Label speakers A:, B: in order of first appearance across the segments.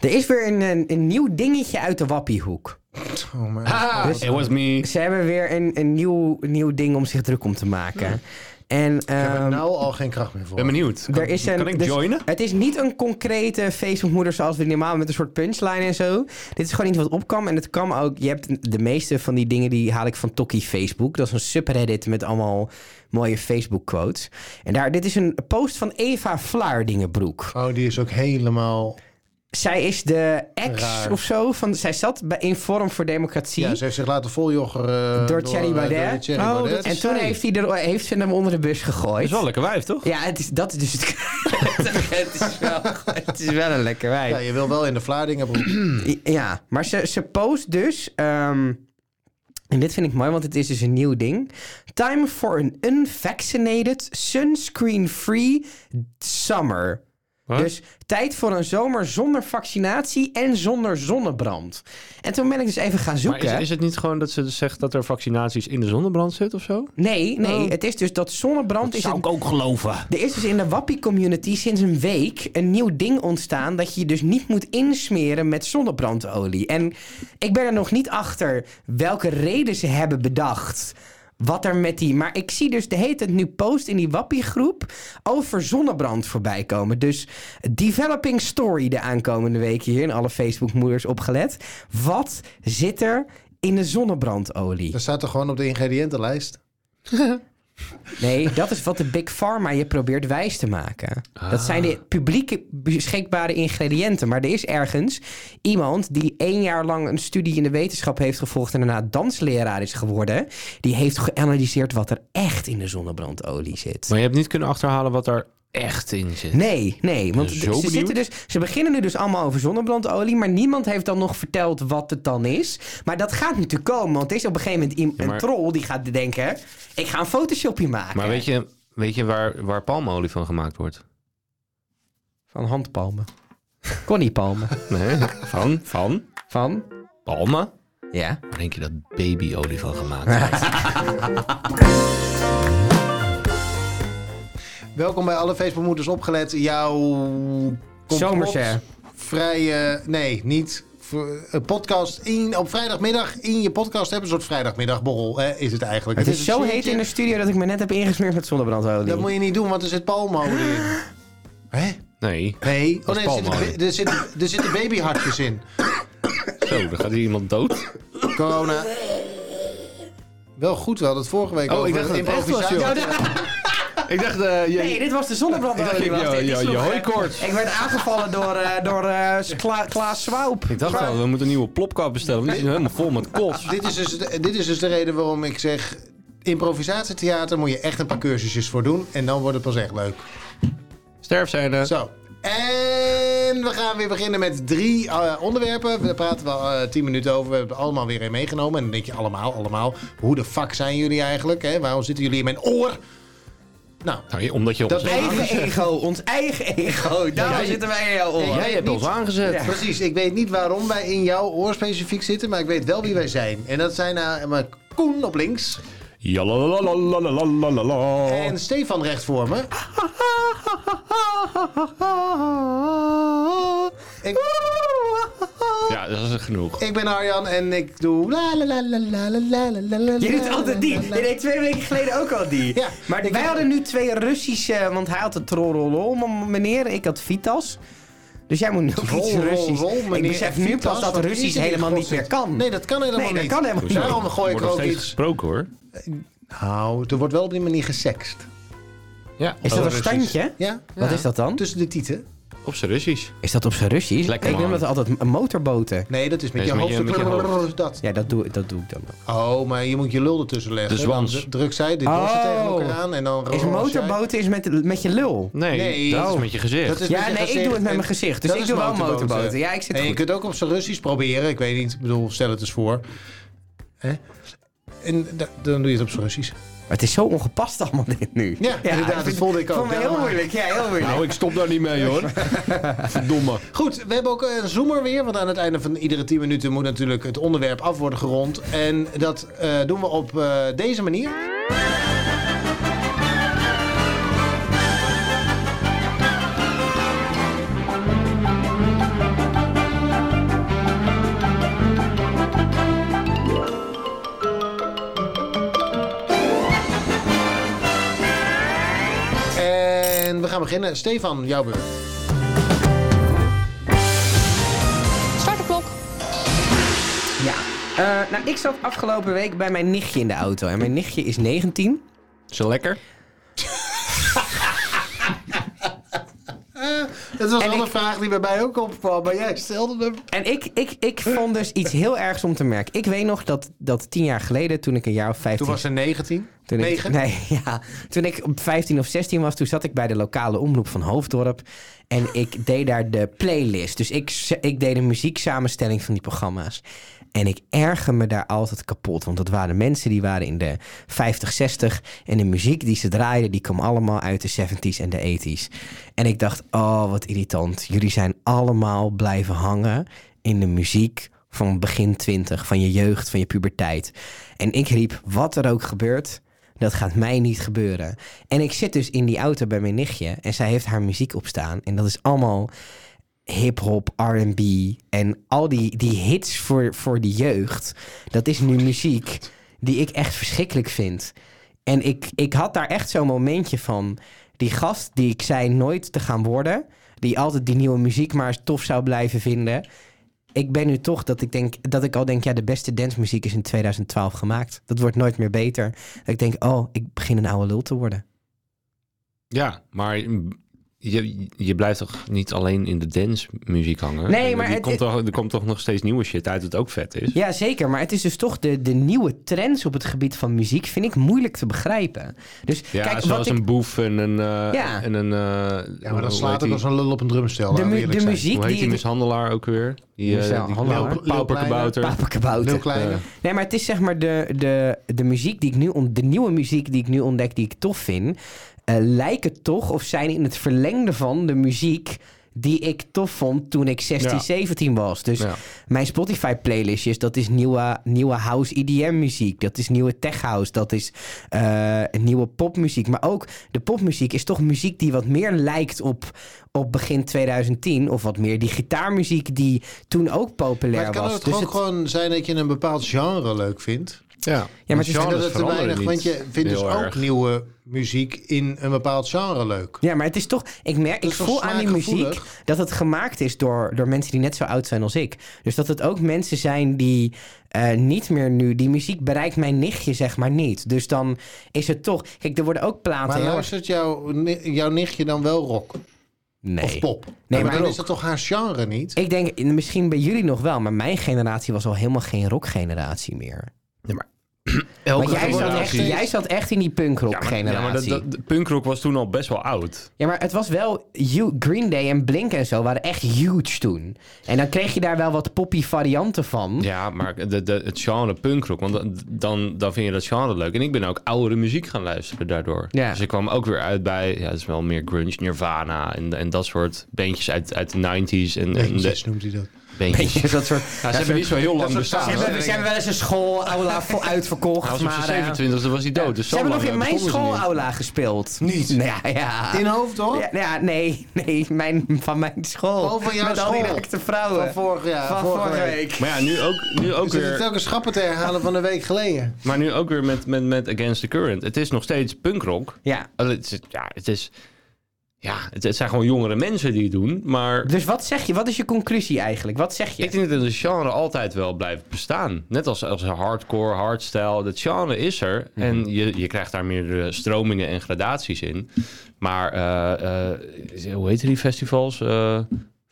A: Er is weer een, een, een nieuw dingetje uit de wappiehoek.
B: Oh man.
C: Ah,
A: Dus-
C: it was me.
A: Ze hebben weer een, een nieuw, nieuw ding om zich druk om te maken. En,
B: Ik heb er
A: ehm,
B: nou al geen kracht meer voor.
C: Ben benieuwd. Kan,
A: er is een,
C: kan ik
A: dus
C: joinen?
A: Het is niet een concrete Facebookmoeder zoals we die normaal met een soort punchline en zo. Dit is gewoon iets wat opkwam en het kwam ook. Je hebt de meeste van die dingen die haal ik van Tokkie Facebook. Dat is een subreddit met allemaal mooie Facebook quotes. En daar, dit is een post van Eva Vlaardingenbroek.
B: Oh, die is ook helemaal...
A: Zij is de ex
B: Raar.
A: of zo van. Zij zat bij in Forum voor Democratie.
B: Ja, ze heeft zich laten voljoggeren...
A: door Thierry
B: eh,
A: Baudet.
B: door Thierry
C: Oh,
B: Baudet.
C: dat
A: en toen
C: zij.
A: heeft, hij er, heeft ze hem onder de bus
C: Dat
A: gegooid.
C: is wel een lekker wijf, toch?
A: Ja, het is, dat is dus het. het, is wel, het is wel een lekker wijf.
B: Ja, je wil wel in de Vlaardingen...
A: Ja, maar ze, ze post dus. ehm, en dit vind ik mooi, want het is dus een nieuw ding. Time for an unvaccinated, sunscreen-free summer.
C: Huh?
A: Dus tijd voor een zomer zonder vaccinatie en zonder zonnebrand. En toen ben ik dus even gaan
C: Maar
A: zoeken.
C: is, is het niet gewoon dat ze dus zegt dat er vaccinaties in de zonnebrand zit of zo?
A: Nee, nee,
C: Oh.
A: het is dus dat zonnebrand is een
C: ook geloven.
A: Er is dus in de Wappie-community sinds een week een nieuw ding ontstaan... dat je je dus niet moet insmeren met zonnebrandolie. En ik ben er nog niet achter welke reden ze hebben bedacht... Wat er met die. Maar ik zie dus de hele tijd nu post in die Wappie-groep over zonnebrand voorbij komen. Dus developing story de aankomende week hier. In alle Facebook-moeders opgelet. Wat zit er in de zonnebrandolie?
B: Dat staat er gewoon op de ingrediëntenlijst.
A: Nee, dat is wat de Big Pharma je probeert wijs te maken. Dat zijn de
C: Ah.
A: publieke beschikbare ingrediënten. Maar er is ergens iemand die één jaar lang een studie in de wetenschap heeft gevolgd en daarna dansleraar is geworden. Die heeft geanalyseerd wat er echt in de zonnebrandolie zit.
C: Maar je hebt niet kunnen achterhalen wat er echt in zit.
A: Nee, nee, want
C: Zo
A: d- ze,
C: benieuwd.
A: zitten dus, ze beginnen nu dus allemaal over zonnebrandolie, maar niemand heeft dan nog verteld wat het dan is. Maar dat gaat natuurlijk komen, want er is op een gegeven moment iem-
C: Ja, maar-
A: een troll die gaat denken, ik ga een photoshopje maken.
C: Maar weet je, weet je waar, waar palmolie van gemaakt wordt?
A: Van handpalmen. Connie palmen.
C: Nee, van, van
A: Van?
C: palmen.
A: Ja.
C: Waar denk je dat babyolie van gemaakt wordt?
B: Welkom bij alle Facebookmoeders opgelet. Jouw... complot-
A: Zomerse.
B: Vrije... Nee, niet... v- Een podcast in, op vrijdagmiddag in je podcast hebben. Een soort vrijdagmiddagborrel hè, is het eigenlijk.
A: Het is zo
B: een
A: heet
B: shirtje.
A: in de studio dat ik me net heb ingesmeerd met zonnebrandolie.
B: Dat moet je niet doen, want er zit palmolie in. Hè?
C: Nee.
B: Nee. Oh,
C: Dat is
B: nee er, zitten,
C: palmolie.
B: er, zitten, er zitten babyhartjes in.
C: Zo, dan gaat hier iemand dood.
B: Corona. Wel goed wel, dat vorige week
C: Oh,
B: over
C: ik dacht dat het echt was,
B: improvisatie.
C: joh.
A: Oh, da-
C: Ik dacht, eh, je-
A: nee, dit was de zonnebrandolie.
C: Ik dacht,
A: Wacht,
C: je-
A: dit
C: je-
A: is nog-
C: je hooikoorts.
A: Ik werd aangevallen door, eh, door eh, Kla- Klaas Swaup.
C: ik dacht wel, we moeten een nieuwe plopkap bestellen. want Die is helemaal vol met kots.
B: dit, is dus de, dit is dus de reden waarom ik zeg... Improvisatietheater moet je echt een paar cursusjes voor doen. En dan wordt het pas echt leuk.
C: Sterf zijn er.
B: Zo. En we gaan weer beginnen met drie eh, onderwerpen. We praten wel eh, tien minuten over. We hebben het allemaal weer in meegenomen. En dan denk je allemaal, allemaal. Hoe de fuck zijn jullie eigenlijk? Hè? Waarom zitten jullie in mijn oor? Nou,
C: Nou, je- omdat je
B: Dat
C: ons...
B: ben-
A: Eigen ego, ons eigen ego. Daar
B: Jij-
A: zitten wij in jouw oor.
C: Jij hebt ons aangezet.
A: Ja.
B: precies. Ik weet niet waarom wij in jouw oor specifiek zitten. Maar ik weet wel wie wij zijn. En dat zijn eh, maar Koen op links.
A: Oh.
C: Jalalalalalalalala.
B: En Stefan recht voor me. Ik,
C: Ja, dat is genoeg.
B: ik ben Arjan en ik doe... La, la, la, la, la, la, la, la, la,
A: Je doet altijd die.
B: la,
A: Je
B: la, la.
A: deed twee weken geleden ook al die.
B: Ja,
A: maar
B: ik
A: wij
B: heb-
A: hadden nu twee Russische, want hij had een trollolol m- meneer, ik had Vitas. Dus jij moet nu ook iets
B: Rol, rol,
A: Russisch.
B: rol,
A: ik
B: meneer
A: besef nu
B: Vitas,
A: pas dat
B: wat
A: Russisch
B: is er
A: helemaal
B: in
A: niet meer
B: godsnaam?
A: kan.
B: Nee, dat kan helemaal
A: Nee, dat
B: niet.
A: kan helemaal niet.
B: Daarom gooi ik
C: Wordt
B: er
C: nog
B: ook
C: steeds
B: iets...
C: gesproken hoor.
B: Nou, er wordt wel op die manier gesext.
C: Ja,
A: Is dat
B: Oh,
A: een
B: Russisch.
A: standje?
B: Ja?
A: Wat is dat dan?
B: Tussen de tieten?
C: op zijn Russisch.
A: Is dat op zijn Russisch?
C: Lekker,
A: ik noem
C: man.
A: dat altijd m- motorboten.
B: Nee, dat is met
C: Nee,
B: je
C: is met
B: hoofd.
C: je- met je hoofd.
B: Dat.
A: Ja, dat doe, dat doe ik dan ook.
B: Oh, maar je moet je lul ertussen leggen.
C: De zwans.
B: Dan Druk zij dit oh.
A: Oh.
B: tegen elkaar aan en dan...
A: Is motorboten is met, met je lul?
C: Nee,
B: Nee.
C: dat
B: Oh.
C: is met je gezicht.
B: Dat is met
A: Ja, nee,
B: je
A: ik
B: gezicht
A: doe het met
B: en-
A: mijn gezicht. Dus
B: dat
A: ik
B: is
A: doe wel
B: motorboten.
A: motorboten. Ja, ik zit
B: En je
A: goed.
B: kunt ook op zijn Russisch proberen. Ik weet niet, ik bedoel, stel het eens voor. Hè? En da- dan doe je het op zijn Russisch.
A: Maar het is zo ongepast allemaal dit nu.
B: Ja, inderdaad, dat
A: vind-
B: voelde ik ook.
A: Vond me heel
B: Daarom-
A: moeilijk. Ja, heel moeilijk.
C: Nou, ik stop daar niet mee hoor. Verdomme.
B: Goed, we hebben ook een zoomer weer. Want aan het einde van iedere 10 minuten moet natuurlijk het onderwerp af worden gerond. En dat eh, doen we op eh, deze manier. beginnen. Stefan, jouw beurt.
D: Start de klok.
A: Ja. Eh, nou, ik zat afgelopen week bij mijn nichtje in de auto. En mijn nichtje is 19.
C: Is dat lekker?
B: Dat was
A: En
B: wel
A: ik-
B: een vraag die bij mij ook opkwam, maar jij stelde hem.
A: En ik, ik, ik vond dus iets heel ergs om te merken. Ik weet nog dat, dat tien jaar geleden, toen ik een jaar of 15...
B: Toen was ze 19.
A: Toen ik,
B: 9.
A: nee, ja. Toen ik op 15 of 16 was, toen zat ik bij de lokale omroep van Hoofddorp. En ik deed daar de playlist. Dus ik, z- ik deed de muzieksamenstelling van die programma's. En ik erger me daar altijd kapot. Want dat waren mensen die waren in de 50, 60. En de muziek die ze draaiden, die kwam allemaal uit de 70s en de 80s. En ik dacht, oh wat irritant. Jullie zijn allemaal blijven hangen in de muziek van begin 20. Van je jeugd, van je puberteit. En ik riep, wat er ook gebeurt, dat gaat mij niet gebeuren. En ik zit dus in die auto bij mijn nichtje en zij heeft haar muziek op staan. En dat is allemaal hip-hop, RB en al die, die hits voor, voor die jeugd. Dat is nu muziek die ik echt verschrikkelijk vind. En ik, ik had daar echt zo'n momentje van. Die gast die ik zei nooit te gaan worden, die altijd die nieuwe muziek maar tof zou blijven vinden. Ik ben nu toch dat ik, denk, dat ik al denk, ja, de beste dancemuziek is in 2012 gemaakt. Dat wordt nooit meer beter. Dat ik denk, oh, ik begin een oude lul te worden.
C: Ja, maar je, je blijft toch niet alleen in de dance-muziek hangen?
A: Nee,
C: Er-
A: maar
C: er
A: het-
C: komt toch, er komt toch nog steeds nieuwe shit uit dat ook vet is?
A: Ja, zeker. Maar het is dus toch de, de nieuwe trends op het gebied van muziek, vind ik moeilijk te begrijpen. Dus
C: Ja,
A: kijk, wat
C: zoals
A: ik,
C: een boef en een... eh,
A: Ja.
C: en een eh,
B: Ja, maar
C: hoe
B: dat slaat
C: heet
B: ook
C: die-
B: als een lul op een drumstel.
A: de,
B: laten we
A: mu-
B: eerlijk
A: de
B: zijn.
A: muziek
C: Hoe heet die
A: die...
C: mishandelaar ook weer? Die, eh,
A: Marcel
C: die
A: Handelaar.
B: Lil
C: pauper-
B: Kleine.
C: pauperkabouter.
A: Papakabouter.
B: Lil Kleine.
C: Ja.
A: Nee, maar het is zeg maar de, de, de muziek die ik nu ont, de nieuwe muziek die ik nu ontdek, die ik tof vind, eh, lijken toch of zijn in het verlengde van de muziek die ik tof vond toen ik 16,
C: Ja.
A: 17 was. Dus
C: Ja.
A: mijn Spotify playlistjes, dat is nieuwe, nieuwe house EDM muziek, dat is nieuwe tech house, dat is eh, nieuwe popmuziek. Maar ook de popmuziek is toch muziek die wat meer lijkt op, op begin 2010 of wat meer die gitaarmuziek die toen ook populair
B: Maar het kan
A: was.
B: ook
A: Dus
B: gewoon,
A: het-
B: gewoon zijn dat je een bepaald genre leuk vindt.
C: Ja,
A: Ja, maar het is-
B: En dat
C: genres
B: het te
C: veranderen
B: weinig,
C: niet
B: want je vindt dus
C: heel
B: ook
C: erg.
B: nieuwe muziek in een bepaald genre leuk.
A: Ja, maar het is toch. Ik merk,
B: is
A: ik
B: toch
A: voel aan die muziek
B: smaakgevoelig?
A: dat het gemaakt is door, door mensen die net zo oud zijn als ik. Dus dat het ook mensen zijn die eh, niet meer nu. Die muziek bereikt mijn nichtje, zeg maar niet. Dus dan is het toch. Kijk, er worden ook platen.
B: Maar
A: heel erg-
B: luistert jouw, ni- jouw nichtje dan wel rock
A: nee.
B: of pop? Nee,
A: maar
B: maar dan
A: rock.
B: is dat toch haar genre niet?
A: Ik denk eh, misschien bij jullie nog wel, maar mijn generatie was al helemaal geen rockgeneratie meer. Want
C: Elke
A: jij zat, echt,
C: generatie-
A: jij zat echt in die
C: Ja, maar,
A: punkrockgeneratie.
C: ja, maar dat, dat, de punkrock was toen al best wel oud.
A: Ja, maar het was wel... hu- Green Day en Blink en zo waren echt huge toen. En dan kreeg je daar wel wat poppy varianten van.
C: Ja, maar de, de, het genre punkrock, want dan- dan, dan vind je dat genre leuk. En ik ben ook oudere muziek gaan luisteren daardoor.
A: Ja.
C: Dus ik kwam ook weer uit bij, ja, het is wel meer grunge, Nirvana en, en dat soort bandjes uit, uit de 90s. En, en de
B: Beentjes noemt hij dat.
C: bandjes.
A: Beetje dat soort...
C: Ja, ze hebben niet zo heel lang
B: soort
C: bestaan.
A: Ze
B: taal.
C: hoor.
A: hebben, ze hebben wel eens een schoolaula vo-
C: Hij
A: uitverkocht.
C: was op
A: Maar, eh,
C: zijn 27e was hij dood. Dus
A: ze
C: zo
A: hebben nog
C: lang,
A: in
C: eh,
A: mijn
C: begonnen ze niet.
A: schoolaula gespeeld.
B: Niet?
A: Nou Ja, ja.
B: In hoofd toch?
A: Ja, ja, nee, nee mijn, van mijn school.
B: Oh, van jouw
A: Met al die
B: school.
A: naakte vrouwen.
B: Van vorig jaar.
A: Van vorige week.
C: Maar ja, nu ook, nu ook
B: We zitten
C: weer,
B: telkens schappen te herhalen van een week geleden.
C: maar nu ook weer met, met, met Against the Current. Het is nog steeds punkrock.
A: Ja.
C: Alleen, Oh, Het is, ja, het is... Ja, het, het zijn gewoon jongere mensen die het doen, maar...
A: Dus wat zeg je? Wat is je conclusie eigenlijk? Wat zeg je?
C: Ik denk dat het genre altijd wel blijft bestaan. Net als, als hardcore, hardstyle. Dat genre is er.
A: Mhm.
C: En je, je krijgt daar meerdere stromingen en gradaties in. Maar eh, eh, hoe heet die festivals? eh,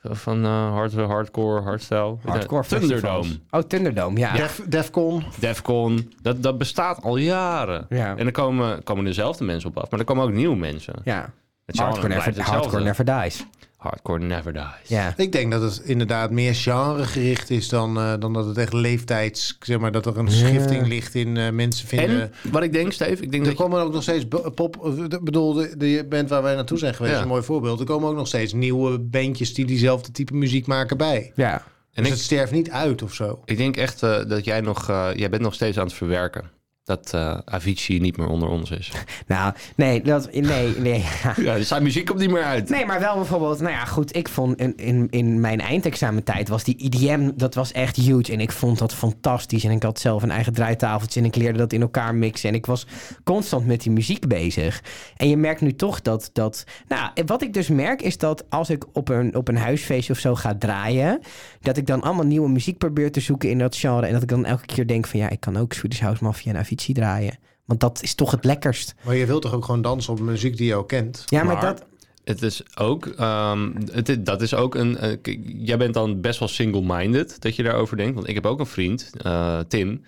C: van eh, hard, hardcore, hardstyle.
A: Hardcore
C: Eh, Thunderdome,
A: festivals. Oh, Thunderdome, ja.
B: Def, Defcon.
C: Defcon. Dat, dat bestaat al jaren.
A: Ja.
C: En er komen, komen dezelfde mensen op af. Maar er komen ook nieuwe mensen.
A: ja.
C: Het genre
A: Hardcore,
C: blijft
A: never,
C: hetzelfde.
A: hardcore never dies.
C: Hardcore never dies.
A: Ja.
B: Ik denk dat het inderdaad meer genregericht is dan, eh, dan dat het echt leeftijds... Zeg maar, dat er een schifting ligt in eh, mensen vinden...
C: En wat ik denk, Steve, ik denk
B: Er
C: dat je-
B: komen ook nog steeds bo- pop. Ik bedoel, de, de band waar wij naartoe zijn geweest,
C: Ja.
B: is een mooi voorbeeld. Er komen ook nog steeds nieuwe bandjes die diezelfde type muziek maken bij.
A: Ja.
C: en
B: dus
C: ik-
B: het sterft niet uit of zo.
C: Ik denk echt eh, dat jij nog, eh, jij bent nog steeds aan het verwerken. dat eh, Avicii niet meer onder ons is.
A: Nou, nee, dat, nee, nee. ja.
C: ja, zijn muziek komt niet meer uit.
A: Nee, maar wel bijvoorbeeld, nou ja, goed, ik vond in, in, in mijn eindexamentijd was die IDM, dat was echt huge en ik vond dat fantastisch en ik had zelf een eigen draaitafeltje en ik leerde dat in elkaar mixen en ik was constant met die muziek bezig. En je merkt nu toch dat, dat nou, wat ik dus merk is dat als ik op een, op een huisfeest of zo ga draaien, dat ik dan allemaal nieuwe muziek probeer te zoeken in dat genre en dat ik dan elke keer denk van ja, ik kan ook Swedish House Mafia en Avicii draaien. Want dat is toch het lekkerst.
B: Maar je wilt toch ook gewoon dansen op muziek die je ook kent?
A: Ja, maar,
C: Maar-
A: dat...
C: Het is ook, ehm, het, is- dat is ook een, eh, k- jij bent dan best wel single-minded dat je daarover denkt. Want ik heb ook een vriend, eh, Tim,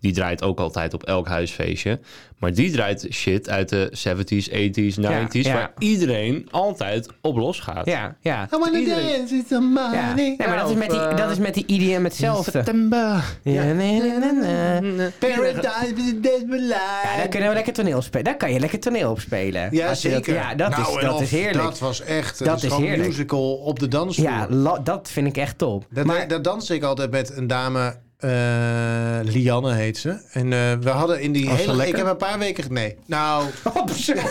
C: die draait ook altijd op elk huisfeestje. Maar die draait shit uit de 70s, 80s, 90s,
A: ja.
C: waar iedereen altijd op los gaat.
A: Ja, ja.
B: I wanna
C: Iedereen.
B: dance with somebody.
A: Ja. Nee, nou, maar dat is, met die, dat is met die IDM hetzelfde.
C: September.
A: Ja, nee, nee, nee, nee.
B: Paradise with a desperate
A: Ja, daar
B: life.
A: kunnen we lekker toneel spelen. Daar kan je lekker toneel op spelen.
B: Ja,
A: Als je dat-
B: zeker.
A: ja, dat,
B: Nou,
A: is,
B: en
A: dat
B: of-
A: is heerlijk.
B: Dat was echt
A: Dat
B: dat
A: is
B: is gewoon
A: heerlijk.
B: musical op de dansvloer.
A: ja, la- dat vind ik echt top.
B: Dat,
A: maar,
B: dat danste ik altijd met een dame, eh, Lianne heet ze. En eh, we hadden in
A: Oh,
B: die
C: Was ze
B: hele... Ik
C: lekker?
B: heb een paar weken... ge- Nee, nou... nou ja,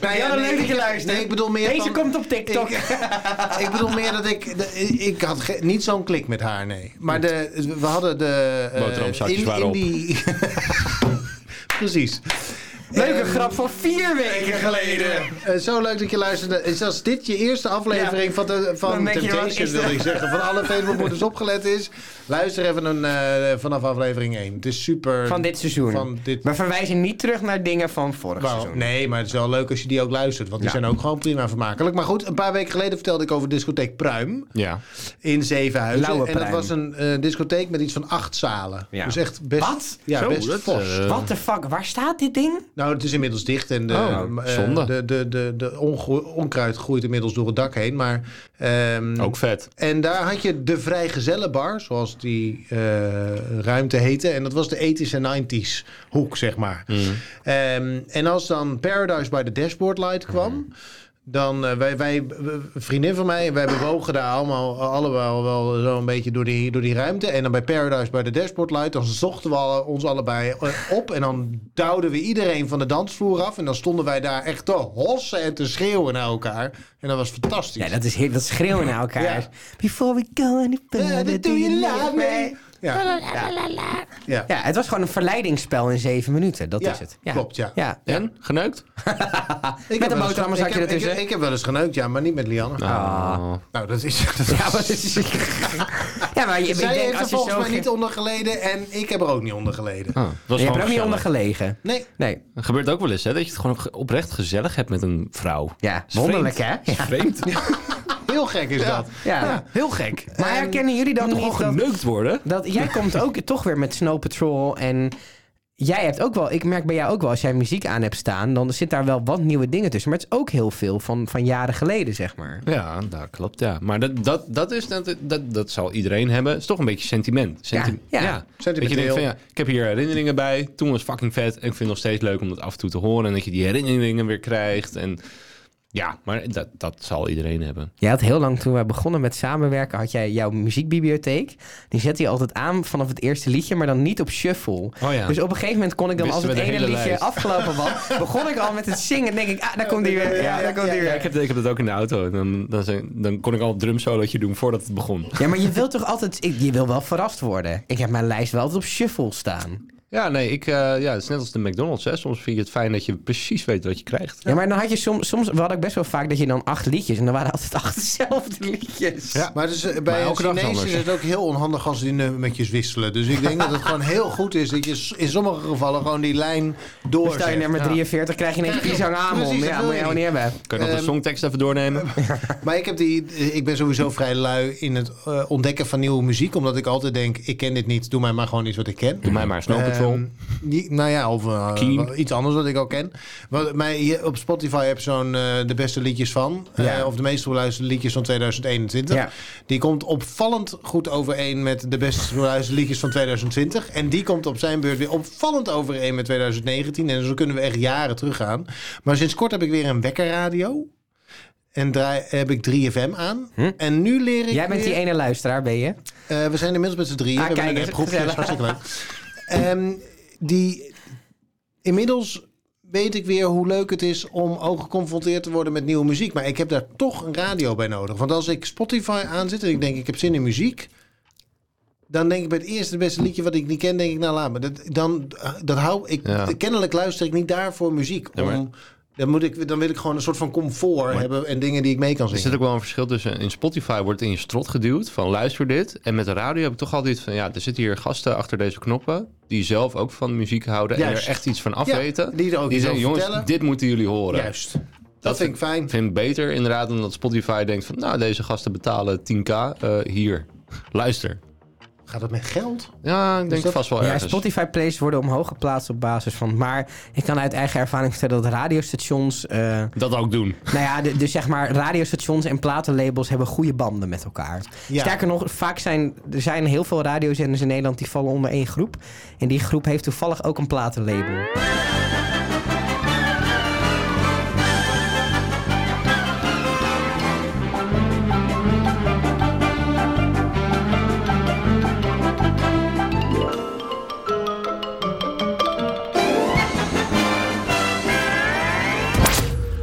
A: Lianne, leuk dat je
B: ik-
A: luistert.
B: Nee, ik bedoel meer
A: Deze
B: van-
A: komt op TikTok.
B: ik bedoel meer dat ik... de- ik had ge- niet zo'n klik met haar, nee. Maar de, we hadden de... eh,
C: Boterhamzakjes
B: in,
C: waren
B: in
C: op.
B: die- Precies.
A: Leuke
B: Ehm,
A: grap van vier weken geleden.
B: Eh, zo leuk dat je luisterde. Is als dit je eerste aflevering van, de,
A: Dan
B: van
A: denk je, wat
B: Temptation,
A: is
B: wil
A: dat?
B: ik zeggen. Van alle Facebookmoeders opgelet is. Luister even een, eh, vanaf aflevering 1. Het is super...
A: Van dit seizoen.
B: Van dit...
A: We verwijzen niet terug naar dingen van vorig
B: Wauw.
A: seizoen.
B: Nee, maar het is wel leuk als je die ook luistert. Want die
A: Ja.
B: zijn ook gewoon prima vermakelijk. Maar goed, een paar weken geleden vertelde ik over discotheek Pruim
C: Ja.
B: in Zevenhuizen.
A: Lauwe
B: en dat
A: Pruim.
B: was een eh, discotheek met iets van acht zalen.
A: Ja.
B: Dus echt best...
A: Wat?
B: Ja,
C: Zo,
B: best
C: dat,
B: fors.
C: eh,
A: What the fuck, waar staat dit ding?
B: Nou, het is inmiddels dicht en de,
C: Oh,
B: eh,
C: zonde.
B: de, de, de, de ongroe- onkruid groeit inmiddels door het dak heen. Maar, ehm,
C: ook vet.
B: En daar had je de Vrijgezellenbar, zoals die eh, ruimte heette. En dat was de 80s en 90s hoek, zeg maar.
A: Mm.
B: Ehm, en als dan Paradise by the Dashboard Light kwam...
A: Mm.
B: Dan, eh, wij, wij, een vriendin van mij, wij bewogen daar allemaal, allemaal wel zo'n beetje door die, door die ruimte. En dan bij Paradise bij de Dashboard Light, dan zochten we alle- ons allebei eh, op. En dan duwden we iedereen van de dansvloer af. En dan stonden wij daar echt te hossen en te schreeuwen naar elkaar. En dat was fantastisch.
A: Ja, dat is heel, dat schreeuwen naar elkaar.
B: Ja.
A: Before we go any
B: Ja,
A: further,
B: Eh, dat doe je laat mee. Ja, ja.
A: Ja, het was gewoon een verleidingsspel in zeven minuten. Dat
B: Ja,
A: is het.
B: klopt, ja.
A: ja.
C: En?
B: Ik
C: Geneukt?
A: Met
B: heb
A: een
B: wel eens-
A: boterhammenzakje
B: ik heb-
A: ertussen.
B: Ik, ik heb wel eens geneukt, ja, maar niet met Lianne.
C: Ah.
B: Nou, dat is... Dat is
A: Ja, maar, dat is- ja, maar je, ik
B: Zij
A: denk
B: heeft er
A: als je
B: volgens
A: zo...
B: mij niet onder geleden en ik heb er ook niet onder geleden.
C: Ah, het was
A: je
C: gewoon
A: hebt er ook niet
C: gezellig.
A: onder gelegen.
B: Nee.
A: Nee.
C: Het gebeurt ook wel eens, hè? Dat je het gewoon ge- oprecht gezellig hebt met een vrouw.
A: Ja,
C: Is
A: wonderlijk hè?
C: vreemd.
A: Ja.
C: Is Vreemd.
B: Heel gek is dat.
A: Ja.
C: Heel gek.
A: Maar herkennen jullie dan
C: Toch wel
A: niet dat,
C: geneukt worden?
A: dat... Jij komt ook toch weer met Snow Patrol en... Jij hebt ook wel, ik merk bij jou ook wel, als jij muziek aan hebt staan, dan zit daar wel wat nieuwe dingen tussen. Maar het is ook heel veel van, van jaren geleden, zeg maar.
C: Ja, dat klopt, ja. Maar dat, dat, dat, is, dat, dat, dat zal iedereen hebben. Het is toch een beetje sentiment. Senti-
A: Ja, ja.
C: Dat je denkt van,
B: Sentimenteel.
C: ja, ik heb hier herinneringen bij. Toen was fucking vet. En ik vind het nog steeds leuk om dat af en toe te horen. En dat je die herinneringen weer krijgt. En ja, maar dat, dat zal iedereen hebben.
A: Jij had heel lang, toen wij begonnen met samenwerken, had jij jouw muziekbibliotheek. Die zette je altijd aan vanaf het eerste liedje, maar dan niet op shuffle.
C: Oh ja.
A: Dus op een gegeven moment kon ik dan,
C: Wisten
A: als
C: we
A: het
C: de
A: ene
C: hele
A: liedje
C: lijst.
A: afgelopen was, begon ik al met het zingen. denk ik, ah, daar komt hij weer. Ja, daar komt hij
C: Ja,
A: weer.
C: ik heb, ik heb dat ook in de auto. En dan, dan, zijn- dan kon ik al een drumsolootje doen voordat het begon.
A: Ja, maar je wilt toch altijd, ik- je wil wel verrast worden. Ik heb mijn lijst wel altijd op shuffle staan.
C: Ja, nee, ik, eh, ja, het is net als de McDonald's. Hè. Soms vind je het fijn dat je precies weet wat je krijgt.
A: Ja, maar dan had je soms, soms we hadden ook best wel vaak dat je dan acht liedjes en dan waren altijd acht dezelfde liedjes.
B: Ja. Maar dus, eh, bij een
C: elke dag
B: Chinees
C: anders.
B: is het ook heel onhandig als die nummertjes wisselen. Dus ik denk dat het gewoon heel goed is dat je s- in sommige gevallen gewoon die lijn
A: Stel je
B: doorzet.
A: nummer 43, krijg je ineens Pisang Amon.
B: Precies, dat
A: Ja,
B: wil
A: moet je
B: je
A: ook niet
B: niet.
A: hebben.
C: Kan je nog de
B: Ehm,
C: songtekst even doornemen?
B: Maar ik, heb die, eh, ik ben sowieso vrij lui in het eh, ontdekken van nieuwe muziek. Omdat ik altijd denk, ik ken dit niet, doe mij maar gewoon iets wat ik ken.
C: Doe mij maar Snow Patrol.
B: Ehm, die- nou ja, of eh,
C: Keen.
B: wel iets anders wat ik al ken. Wat, mij, hier op Spotify heb je zo'n eh, de beste liedjes van. eh,
A: Ja.
B: of de meest beluisterde liedjes van 2021.
A: Ja.
B: Die komt opvallend goed overeen met de best beluisterde liedjes van 2020. En die komt op zijn beurt weer opvallend overeen met 2019. En zo kunnen we echt jaren teruggaan. Maar sinds kort heb ik weer een wekkerradio. En draai, heb ik 3FM aan. En nu leer ik
A: Hm? Jij bent
B: weer-
A: die ene luisteraar, ben je?
B: eh, we zijn inmiddels met z'n drieën.
A: Ah,
B: we
A: kijk,
B: hebben een
A: dat is
B: appgroepje, dat is hartstikke leuk. Ehm, die, inmiddels weet ik weer hoe leuk het is om ook geconfronteerd te worden met nieuwe muziek. Maar ik heb daar toch een radio bij nodig. Want als ik Spotify aanzet en ik denk ik heb zin in muziek. Dan denk ik bij het eerste beste liedje wat ik niet ken, denk ik, nou laat me. Dat, dan, dat hou ik,
C: Ja.
B: kennelijk luister ik niet daarvoor muziek.
C: Ja, maar-
B: Om, dan, moet ik, dan wil ik gewoon een soort van comfort hebben en dingen die ik mee kan
C: Er
B: zingen.
C: zit ook wel een verschil tussen. In Spotify wordt het in je strot geduwd van luister dit. En met de radio heb ik toch altijd van ja, er zitten hier gasten achter deze knoppen. Die zelf ook van muziek houden en
B: Juist.
C: er echt iets van
B: Ja,
C: afweten.
B: die er ook
C: die
B: iets
C: zeggen
B: over
C: jongens,
B: vertellen."
C: dit moeten jullie horen.
B: Juist. Dat, vind ik
C: Ik
B: fijn.
C: vind het beter inderdaad dan dat Spotify denkt van nou deze gasten betalen 10k eh, hier. Luister.
B: Gaat het met geld?
C: Oh, Ja, dus- ik denk
B: dat-
C: vast wel
A: Ja,
C: ergens.
A: Spotify plays worden omhoog geplaatst op basis van. Maar ik kan uit eigen ervaring vertellen dat radiostations. eh,
C: Dat ook doen.
A: nou ja, de- dus zeg maar, radiostations en platenlabels hebben goede banden met elkaar.
B: Ja.
A: Sterker nog, vaak zijn er zijn heel veel radiozenders in Nederland die vallen onder één groep. En die groep heeft toevallig ook een platenlabel.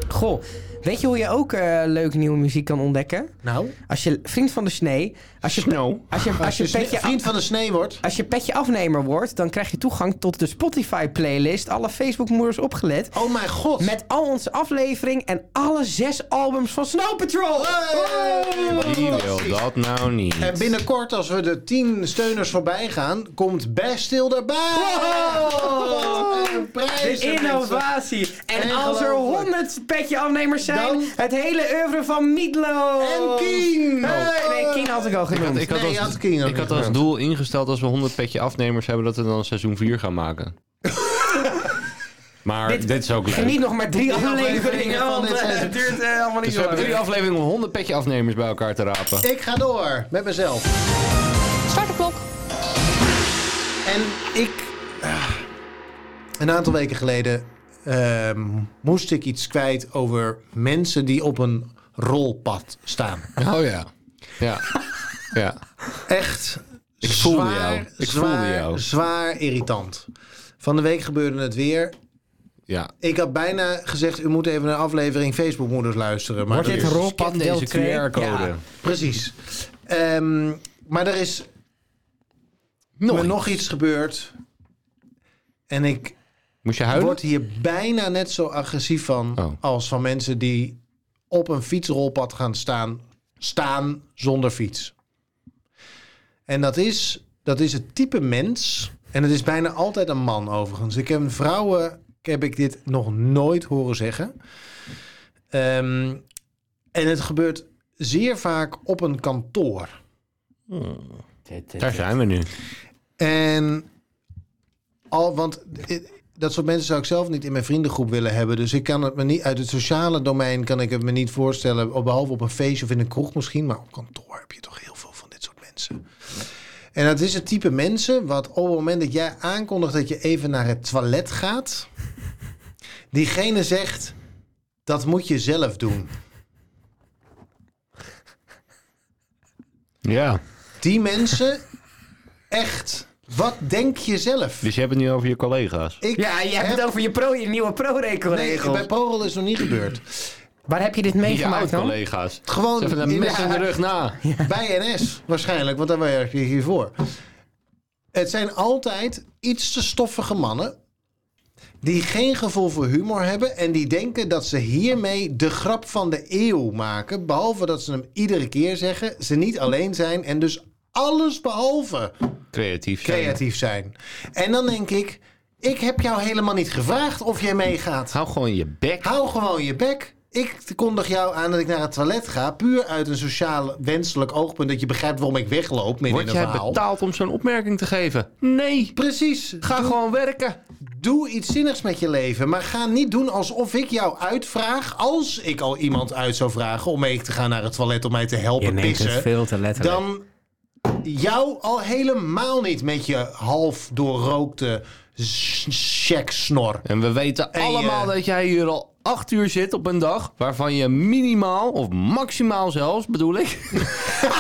A: Goh, weet je hoe je ook eh, leuk nieuwe muziek kan ontdekken?
B: Nou,
A: Als je vriend van de snee, als je,
C: Snow.
A: als je, als
B: als
A: je,
B: je sne-
A: petje,
B: vriend van de snee wordt.
A: als je petje afnemer wordt, dan krijg je toegang tot de Spotify playlist. Alle Facebook moeders opgelet.
B: Oh mijn god.
A: Met al onze aflevering en alle zes albums van Snow Patrol.
C: Wie wil dat nou niet?
B: En binnenkort, als we de 10 steuners voorbij gaan, komt Bestil erbij.
A: Wow!
B: En
A: De
B: prijzen,
A: innovatie. En
B: En
A: als er
B: gelooflijk.
A: 100 petje afnemers zijn,
B: Dan-
A: het hele oeuvre van Mietlo.
B: mensen. En Kien.
A: Oh. nee, Kien had ik al genoemd.
C: Ik had,
B: Nee, je
C: als,
B: had Kino
C: ik
B: niet
C: had als
B: genoemd.
C: doel ingesteld als we 100 petje afnemers hebben dat we dan seizoen 4 gaan maken. maar dit, is ook leuk.
A: Geniet nog maar drie
B: afleveringen
A: afleveringen,
B: van
A: want
B: dit
A: eh,
B: seizoen.
A: het duurt eh, allemaal niet
C: Dus we
A: zo
C: hebben
A: lang.
C: drie afleveringen om 100 petje afnemers bij elkaar te rapen.
B: Ik ga door met mezelf.
D: Startklok.
B: En ik. ah, Een aantal weken geleden ehm, moest ik iets kwijt over mensen die op een rolpad staan.
C: Oh ja. Ja. ja.
B: Echt. Ik
C: voelde jou. Ik voelde jou.
B: Zwaar irritant. Van de week gebeurde het weer.
C: ja.
B: Ik had bijna gezegd, u moet even een aflevering Facebookmoeders luisteren. Maar
A: Wordt dit
B: dat is-
A: rolpad
C: Scan
A: deel
C: deze
A: twee?
C: QR-code.
A: Ja.
B: Precies. Ehm, maar er is nog, nog iets gebeurd. En ik
C: Moest je huilen?
B: word hier bijna net zo agressief van...
C: Oh.
B: als van mensen die op een fietsrolpad gaan staan... staan zonder fiets. En dat is, dat is het type mens... en het is bijna altijd een man overigens. Ik heb vrouwen... heb ik dit nog nooit horen zeggen. Ehm, en het gebeurt zeer vaak op een kantoor.
C: Daar zijn we nu.
B: En al, want i- dat soort mensen zou ik zelf niet in mijn vriendengroep willen hebben. Dus ik kan het me niet uit het sociale domein kan ik het me niet voorstellen. op- Behalve op een feestje of in een kroeg misschien. Maar op kantoor heb je toch heel veel van dit soort mensen. En dat is het type mensen wat op het moment dat jij aankondigt dat je even naar het toilet gaat, diegene zegt dat moet je zelf doen.
C: Ja.
B: Die mensen, echt, wat denk je zelf?
C: Dus je hebt het nu over je collega's.
B: Ik
A: Ja, je hebt
B: heb-
A: het over je, pro, je nieuwe
B: Nee,
A: pro-regels.
B: bij Porel is het nog niet gebeurd.
A: Waar heb je dit
C: Je
A: meegemaakt dan?
C: oud-collega's.
B: Gewoon
C: Ze hebben
B: in-
C: een mes in de rug nou. na.
B: bij NS waarschijnlijk, want daar werk je hiervoor. Het zijn altijd iets te stoffige mannen die geen gevoel voor humor hebben en die denken dat ze hiermee de grap van de eeuw maken, behalve dat ze hem iedere keer zeggen, ze niet alleen zijn en dus alles behalve
C: Creatief zijn.
B: creatief zijn. En dan denk ik, ik heb jou helemaal niet gevraagd of jij meegaat.
C: Hou gewoon je bek.
B: Hou gewoon je bek. Ik kondig jou aan dat ik naar het toilet ga. Puur uit een sociaal wenselijk oogpunt. Dat je begrijpt waarom ik wegloop midden
C: Word
B: in een
C: jij
B: verhaal.
C: betaald om zo'n opmerking te geven? Nee.
B: Precies.
C: Ga gewoon werken.
B: Doe iets zinnigs met je leven. Maar ga niet doen alsof ik jou uitvraag. Als ik al iemand uit zou vragen om mee te gaan naar het toilet om mij te helpen pissen.
A: te
B: dan jou al helemaal niet met je half doorrookte s- s- checksnor.
C: En we weten
B: Hey,
C: allemaal
B: eh,
C: dat jij hier al acht uur zit op een dag, waarvan je minimaal of maximaal zelfs, bedoel ik,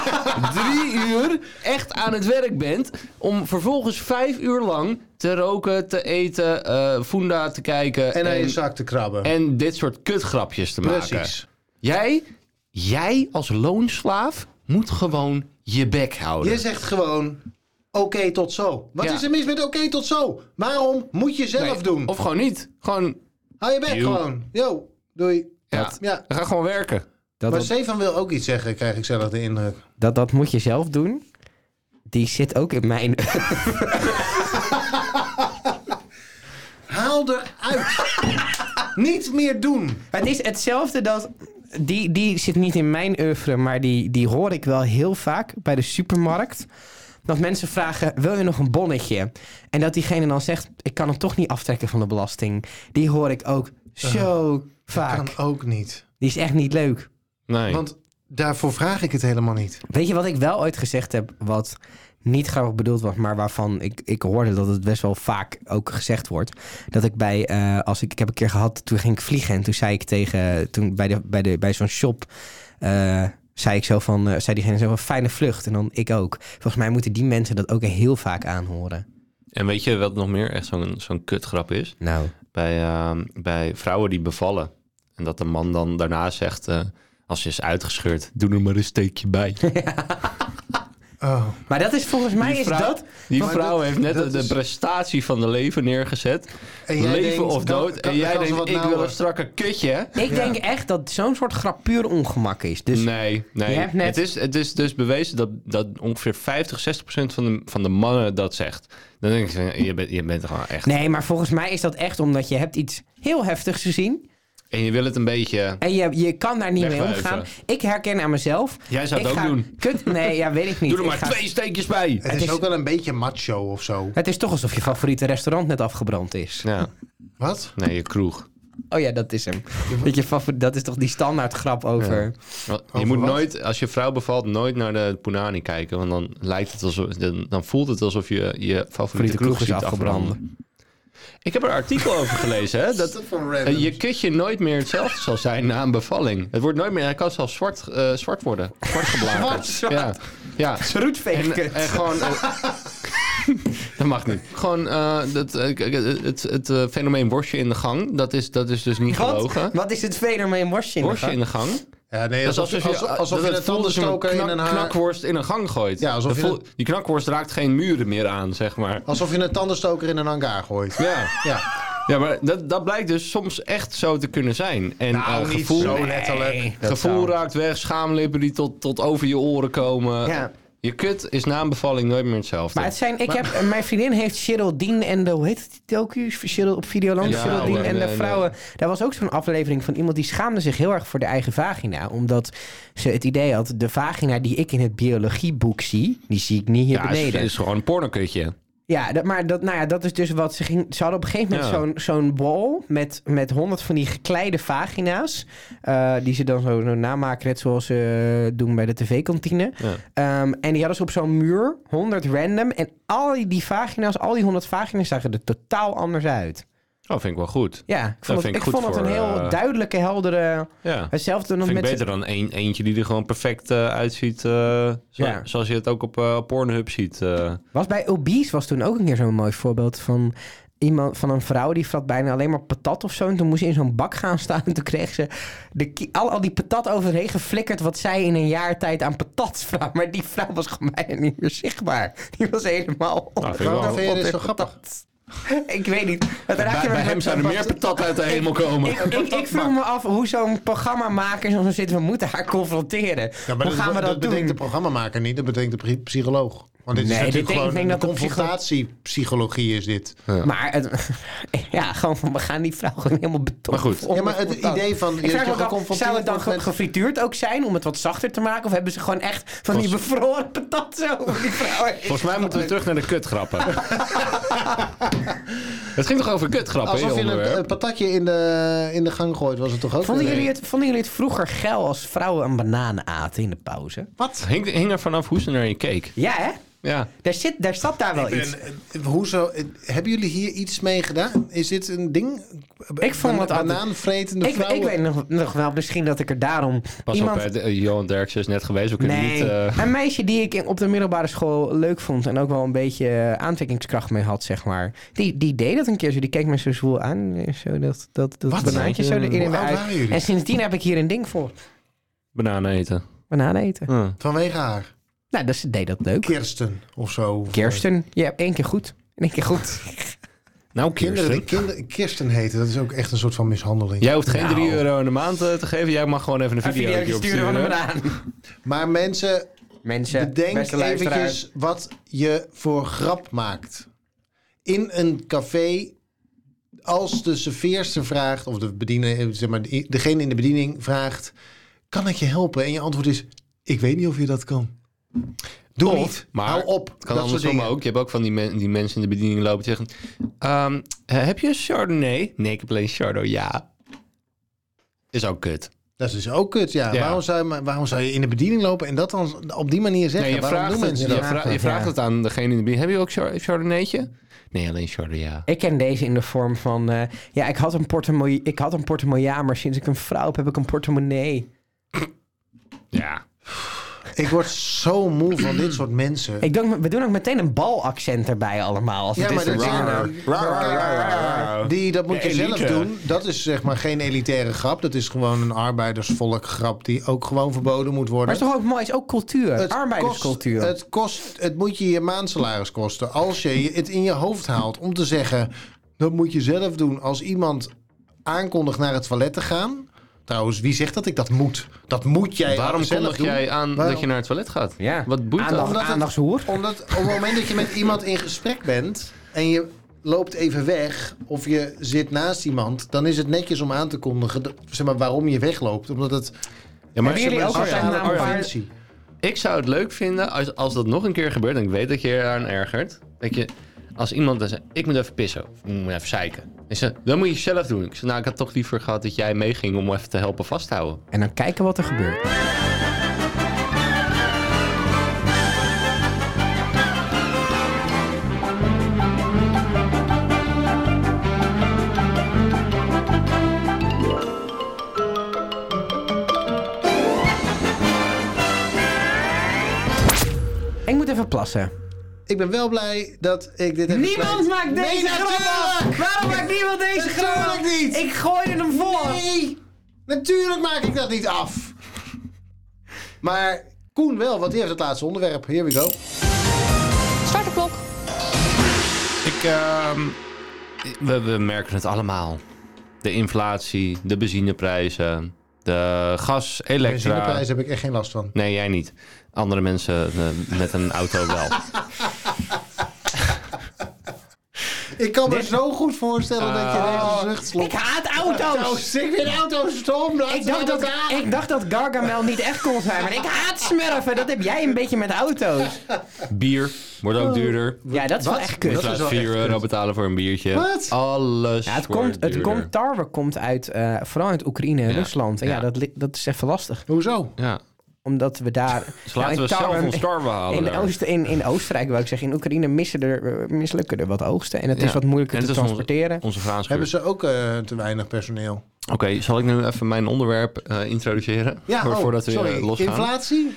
C: drie uur echt aan het werk bent, om vervolgens vijf uur lang te roken, te eten, eh funda te kijken
B: En aan je zak te krabben.
C: en dit soort kutgrapjes te maken.
B: Precies.
C: Jij, jij als loonslaaf moet gewoon je bek houden.
B: Je zegt gewoon, oké tot zo. Wat
C: Ja.
B: is er mis met oké tot zo? Waarom moet je zelf
C: Nee,
B: doen?
C: Of gewoon niet. Gewoon,
B: Hou je bek
C: Joe.
B: gewoon. Yo, doei.
C: ja,
B: Ja.
C: ga gewoon werken.
A: Dat,
B: Maar
A: dat,
B: Stefan wil ook iets zeggen, krijg ik zelf de indruk.
A: dat, dat moet je zelf doen. Die zit ook in mijn...
B: Haal eruit. Niet meer doen.
A: Het is hetzelfde dat. Die, die zit niet in mijn oeuvre, maar die, die hoor ik wel heel vaak bij de supermarkt. Dat mensen vragen: Wil je nog een bonnetje? En dat diegene dan zegt: Ik kan hem toch niet aftrekken van de belasting. Die hoor ik ook zo vaak.
B: Kan ook niet.
A: Die is echt niet leuk.
C: Nee.
B: Want daarvoor vraag ik het helemaal niet.
A: Weet je wat ik wel ooit gezegd heb, wat niet grappig bedoeld was, maar waarvan ik, ik hoorde dat het best wel vaak ook gezegd wordt. Dat ik bij, eh, als ik, ik heb een keer gehad, toen ging ik vliegen en toen zei ik tegen, toen bij, de, bij, de, bij zo'n shop, eh, zei ik zo van, eh, zei diegene zo van, fijne vlucht. En dan ik ook. Volgens mij moeten die mensen dat ook heel vaak aanhoren.
C: En weet je wat nog meer echt zo'n zo'n kutgrap is?
A: Nou,
C: bij, eh, bij vrouwen die bevallen. En dat de man dan daarna zegt, eh, als ze is uitgescheurd, doe er maar een steekje bij.
B: Oh.
A: maar dat is volgens mij is
C: vrouw-
A: dat.
C: Die
B: Maar
C: vrouw
B: dat-
C: heeft net
B: dat
C: de
B: is-
C: prestatie van de leven neergezet.
B: En jij
C: Leven
B: denkt,
C: of
B: kan-
C: dood.
B: kan-
C: en jij
B: kan ze
C: denkt,
B: wat nou, eh,
C: ik wil
B: nauwer?
C: een strakke kutje. hè?
A: Ik denk echt dat zo'n soort grap puur ongemak is. Dus
C: nee, nee.
A: Je hebt net-
C: Het, is, het is dus bewezen dat, dat ongeveer 50, 60 procent van de, van de mannen dat zegt. Dan denk ik, je bent, je bent gewoon echt...
A: nee, maar volgens mij is dat echt omdat je hebt iets heel heftigs gezien.
C: En je wil het een beetje...
A: En je, je kan daar niet mee
C: Wegwijven.
A: omgaan. Ik herken aan mezelf.
C: Jij zou het
A: ik
C: ook
A: ga-
C: doen.
A: Kut, nee, ja, weet ik niet.
C: Doe er
A: Ik
C: maar
A: ga-
C: twee steekjes bij.
B: Het,
A: Het
B: is,
A: is-
B: ook wel een beetje macho of zo.
A: Het is toch alsof je favoriete restaurant net afgebrand is.
C: Ja,
B: Wat?
C: nee, je kroeg.
A: Oh ja, dat is hem. Dat, je favori- dat is toch die standaard grap over.
C: Wel, Je
B: Over
C: moet
B: wat?
C: nooit, als je vrouw bevalt, nooit naar de Punani kijken. Want dan, lijkt het alsof, dan, dan voelt het alsof je je favoriete
A: Favoriete
C: kroeg
A: kroeg is
C: ziet afbranden.
A: afgebrand.
C: Ik heb er een artikel over gelezen. Hè, dat
B: toch voor
C: eh, je kutje nooit meer hetzelfde zal zijn na een bevalling. Het wordt nooit meer, hij kan zelfs zwart, eh, zwart worden. Zwart geblakerd.
A: Zwart,
C: Ja, ja. En, en gewoon... eh, dat mag niet. Gewoon eh, dat, eh, k- k- het, het, eh, fenomeen worstje in de gang, dat is, dat is dus niet
A: Wat?
C: gelogen.
A: Wat is het fenomeen worstje in de
C: Worstje in
A: gang?
C: de gang.
B: Ja, nee,
C: Dat is
B: alsof,
C: alsof
B: alsof,
C: je,
B: alsof,
C: dat
B: je
C: het
B: een
C: voelt alsof je
B: tandenstoker
C: knak-
B: in een haar...
C: knakworst in een gang gooit.
B: Ja, alsof
C: Dat
B: je
C: voelt- Die knakworst raakt geen muren meer aan, zeg maar.
B: Alsof je een tandenstoker in een hangar gooit.
C: Ja,
B: Ja.
C: ja maar dat, dat blijkt dus soms echt zo te kunnen zijn. En eh, gevoel,
A: Nou, Nee, dat
C: gevoel
A: zou-
C: raakt weg, schaamlippen die tot, tot over je oren komen.
A: Ja.
C: Je kut is na een bevalling nooit meer hetzelfde.
A: Maar het zijn, ik heb, mijn vriendin heeft Geraldine en de, hoe heet het, die docu's? Gerald, op Videoland,
C: Ja,
A: Geraldine
C: en,
A: en de
C: eh,
A: vrouwen. Daar was ook zo'n aflevering van iemand die schaamde zich heel erg voor de eigen vagina. Omdat ze het idee had, de vagina die ik in het biologieboek zie, die zie ik niet hier
C: ja, het is,
A: beneden.
C: is gewoon een pornokutje.
A: Ja, dat, maar dat, nou ja, dat is dus wat ze ging. Ze hadden op een gegeven moment
C: Ja.
A: zo'n zo'n bol met, met honderd van die gekleide vagina's. eh, die ze dan zo, zo namaken, net zoals ze doen bij de tv-kantine. Ehm, en die hadden ze op zo'n muur, 100 random. En al die, die vagina's, al die 100 vagina's zagen er totaal anders uit.
C: Oh, vind ik wel goed.
A: Ja, ik
C: Dat
A: vond, het,
C: vind ik
A: ik
C: goed
A: vond het
C: voor,
A: een heel
C: eh,
A: duidelijke, heldere.
C: Ja.
A: Hetzelfde nog
C: Vind ik
A: met.
C: beter dan een, eentje die er gewoon perfect eh, uitziet. eh, zo-
A: Ja.
C: Zoals je het ook op eh, Pornhub ziet. eh.
A: Was bij Obese was toen ook een keer zo'n mooi voorbeeld van iemand van een vrouw die vrat bijna alleen maar patat of zo. En toen moest ze in zo'n bak gaan staan en toen kreeg ze de ki- al, al die patat overheen geflikkerd wat zij in een jaar tijd aan patat vrat. Maar die vrouw was gewoon bijna niet meer zichtbaar. Die was helemaal op.
C: vind ik wel.
B: Waarom vind je dit zo
A: op-
B: grappig?
A: Ik weet niet. Dat raak
C: Bij,
A: je
C: bij
A: me
C: hem
A: met-
C: zou er meer patat uit de hemel komen.
A: Ik, ik, ik vroeg me af hoe zo'n programmamaker zo zit. We moeten haar confronteren.
B: Ja, maar
A: hoe gaan
B: dat,
A: we dat,
B: dat
A: doen?
B: bedenkt de programmamaker niet, dat bedenkt de pri- psycholoog. Want dit
A: Nee, dit
B: is natuurlijk
A: denk-
B: gewoon
A: ik denk dat de psycho-
B: confrontatiepsychologie is dit.
A: Maar het, ja, gewoon van, we gaan die vrouw gewoon helemaal betonnen.
C: Maar goed.
B: Ja, maar het idee van...
A: Ik
B: je
A: vraag
B: je
A: me ook af,
B: geconfronteerd
A: zou het dan
B: wordt
A: ge-
B: met-
A: gefrituurd ook zijn om het wat zachter te maken? Of hebben ze gewoon echt van die bevroren patat zo? over Die vrouwen?
C: Volgens mij moeten we terug naar de kutgrappen. het ging toch over kutgrappen, hè,
B: Alsof je een,
C: onderwerp?
B: een patatje in de, in de gang gooit, was het toch ook?
A: Vonden
B: Nee.
A: jullie, het, vonden jullie het vroeger geil als vrouwen een banaan aten in de pauze?
B: eh,
C: Wat? Hing, hing er vanaf hoe ze naar je keek.
A: Ja, hè?
C: Ja.
A: Daar, zit, daar zat daar wel iets.
B: En, eh, hoezo, eh, hebben jullie hier iets mee gedaan? Is dit een ding?
A: Ik vond het altijd-
B: Banaanvretende
A: Ik,
B: vrouwen?
A: ik weet nog, nog wel, misschien dat ik er daarom
C: Pas
A: iemand...
C: op, hè, de- eh, Johan Derksen is net geweest. We kunnen
A: nee,
C: niet... eh,
A: een meisje die ik in- op de middelbare school leuk vond en ook wel een beetje eh, aantrekkingskracht mee had, zeg maar. Die, die deed dat een keer zo, die keek me zo zwoel aan, eh, zo dat, dat, dat
B: Wat?
A: banaantje zo erin en
B: Hoe oud
A: eruit.
B: waren jullie?
A: En sindsdien heb ik hier een ding voor,
C: bananen eten.
A: bananen eten.
C: Huh.
B: Vanwege haar.
A: Nou, dat ze deed dat leuk.
B: Kirsten of zo.
A: Kirsten, je hebt één keer goed. In één keer goed.
C: Nou,
B: Kinderen die kinder, Kirsten heten, dat is ook echt een soort van mishandeling.
C: Jij hoeft geen
A: Nou.
C: 3 euro in de maand eh, te geven. Jij mag gewoon even een video
A: video
C: opsturen.
A: sturen van een banaan.
B: Maar mensen,
A: Mensen,
B: bedenk
A: beste luisteraars.
B: eventjes wat je voor grap maakt. In een café, als de serveerster vraagt, of de bediener, eh, zeg maar, degene in de bediening vraagt, kan ik je helpen? En je antwoord is, ik weet niet of je dat kan. Doe
C: Of,
B: niet,
C: maar
B: hou op.
C: Het kan
B: dat soort
C: andersom
B: dingen.
C: ook. Je hebt ook van die, men- die mensen in de bediening lopen die zeggen... ehm, eh, heb je een Chardonnay? Nee, ik heb alleen Chardonnay. Ja. Is ook kut.
B: Dat is dus ook kut, ja.
C: Ja.
B: Waarom, zou je, maar- waarom zou je in de bediening lopen en dat dan op die manier zeggen?
C: Nee, je
B: waarom
C: vraagt,
B: doen
C: het,
B: mensen
C: je,
B: dat?
A: dat?
C: vra- je
A: Ja.
C: vraagt het aan degene in de bediening. Heb je ook Char- Chardonnaytje? Nee, alleen Chardonnay. Ja.
A: Ik ken deze in de vorm van... eh, ja, ik had, een portemonnee, ik had een portemonnee, ja, maar sinds ik een vrouw heb, heb ik een portemonnee.
C: Ja.
B: Ik word zo moe van dit soort mensen.
A: Ik denk, we doen ook meteen een balaccent erbij allemaal. Als
B: Ja,
A: het is
B: maar dat
A: een
B: zijn
A: raar.
B: dan- Die, dat moet
C: De
B: je zelf
C: elite.
B: doen. Dat is zeg maar geen elitaire grap. Dat is gewoon een arbeidersvolk grap die ook gewoon verboden moet
A: Maar
B: worden.
A: het is toch ook mooi, het is ook cultuur.
B: Het kost-
A: arbeiderscultuur.
B: het, kost, het moet je je maandsalaris kosten. Als je je het in je hoofd haalt om te zeggen... dat moet je zelf doen als iemand aankondigt naar het toilet te gaan. Trouwens, wie zegt dat ik dat moet? Dat moet jij
C: Waarom
B: zelf
C: kondig
B: doen.
C: jij aan
B: Waarom?
C: dat je naar het toilet gaat?
A: ja.
C: Wat boeit
A: Aandacht,
C: dat?
B: Omdat het-
A: Aandachtshoer.
B: Omdat op het moment dat je met iemand in gesprek bent en je loopt even weg of je zit naast iemand, dan is het netjes om aan te kondigen dat- zeg maar, waarom je wegloopt. Omdat het
C: Ja, maar
A: Hebben jullie ook al
C: oh ja,
A: zijn naam
C: oh ja.
A: waar-
B: conventie.
C: Ik zou het leuk vinden als, als dat nog een keer gebeurt. En ik weet dat je je eraan ergert. Dat je, als iemand dan zegt, ik moet even pissen. Of ik moet even zeiken. En ze, dan moet je zelf doen. Ik zeg, nou, ik had toch liever gehad dat jij meeging om even te helpen vasthouden.
A: En dan kijken wat er gebeurt. Ik moet even plassen.
B: Ik ben wel blij dat ik dit heb
A: Niemand maakt deze
B: nee,
A: grap
B: natuurlijk!
A: Waarom maakt niemand deze grap
B: Natuurlijk niet!
A: Ik gooi hem voor.
B: Nee! Natuurlijk maak ik dat niet af! Maar Koen wel, want die heeft het laatste onderwerp. Here we go.
D: Start de klok.
C: Ik, ehm, we, we merken het allemaal. De inflatie, de benzineprijzen, de gas, elektra.
B: Benzineprijs heb ik echt geen last van.
C: Nee, jij niet. Andere mensen eh, met een auto wel.
B: Ik kan me zo goed voorstellen dat je deze zucht
A: Ik
B: slopt.
A: haat
B: Oh,
A: auto's.
B: zit weer auto's stom. Dat
A: Ik dacht, dat, ik dacht dat Gargamel niet echt kon zijn, maar ik haat smurfen. Dat heb jij een beetje met auto's.
C: Bier wordt ook duurder.
A: Ja, dat is wel
B: Wat?
A: echt
C: In
A: kut.
B: Dat is
C: plaats
B: Oh. wel
C: van 4
B: echt
C: euro
B: kut.
C: betalen voor een biertje.
B: Wat?
C: Alles
A: Ja, het,
C: wordt
A: komt, het
C: duurder.
A: komt, tarwe komt uit, eh, vooral uit Oekraïne en
C: Ja.
A: Rusland. En ja,
C: Ja.
A: dat, li- dat is even lastig.
B: Hoezo?
C: Ja.
A: Omdat we daar...
C: Dus
A: Nou,
C: laten
A: in
C: we zelf
A: tarwe-
C: ons tarwe halen
A: in,
C: daar.
A: Oost, in, in Oostenrijk, wou ik zeggen. In Oekraïne missen er, eh, mislukken er wat oogsten. En het
C: Ja.
A: is wat moeilijker
C: En
A: te
C: het is onze-
A: transporteren.
C: Onze graanschuur.
B: Hebben ze ook eh, te weinig personeel?
C: Oké, zal ik nu even mijn onderwerp eh, introduceren? Voor-
B: oh,
C: voordat we eh,
B: sorry.
C: losgaan.
B: Inflatie?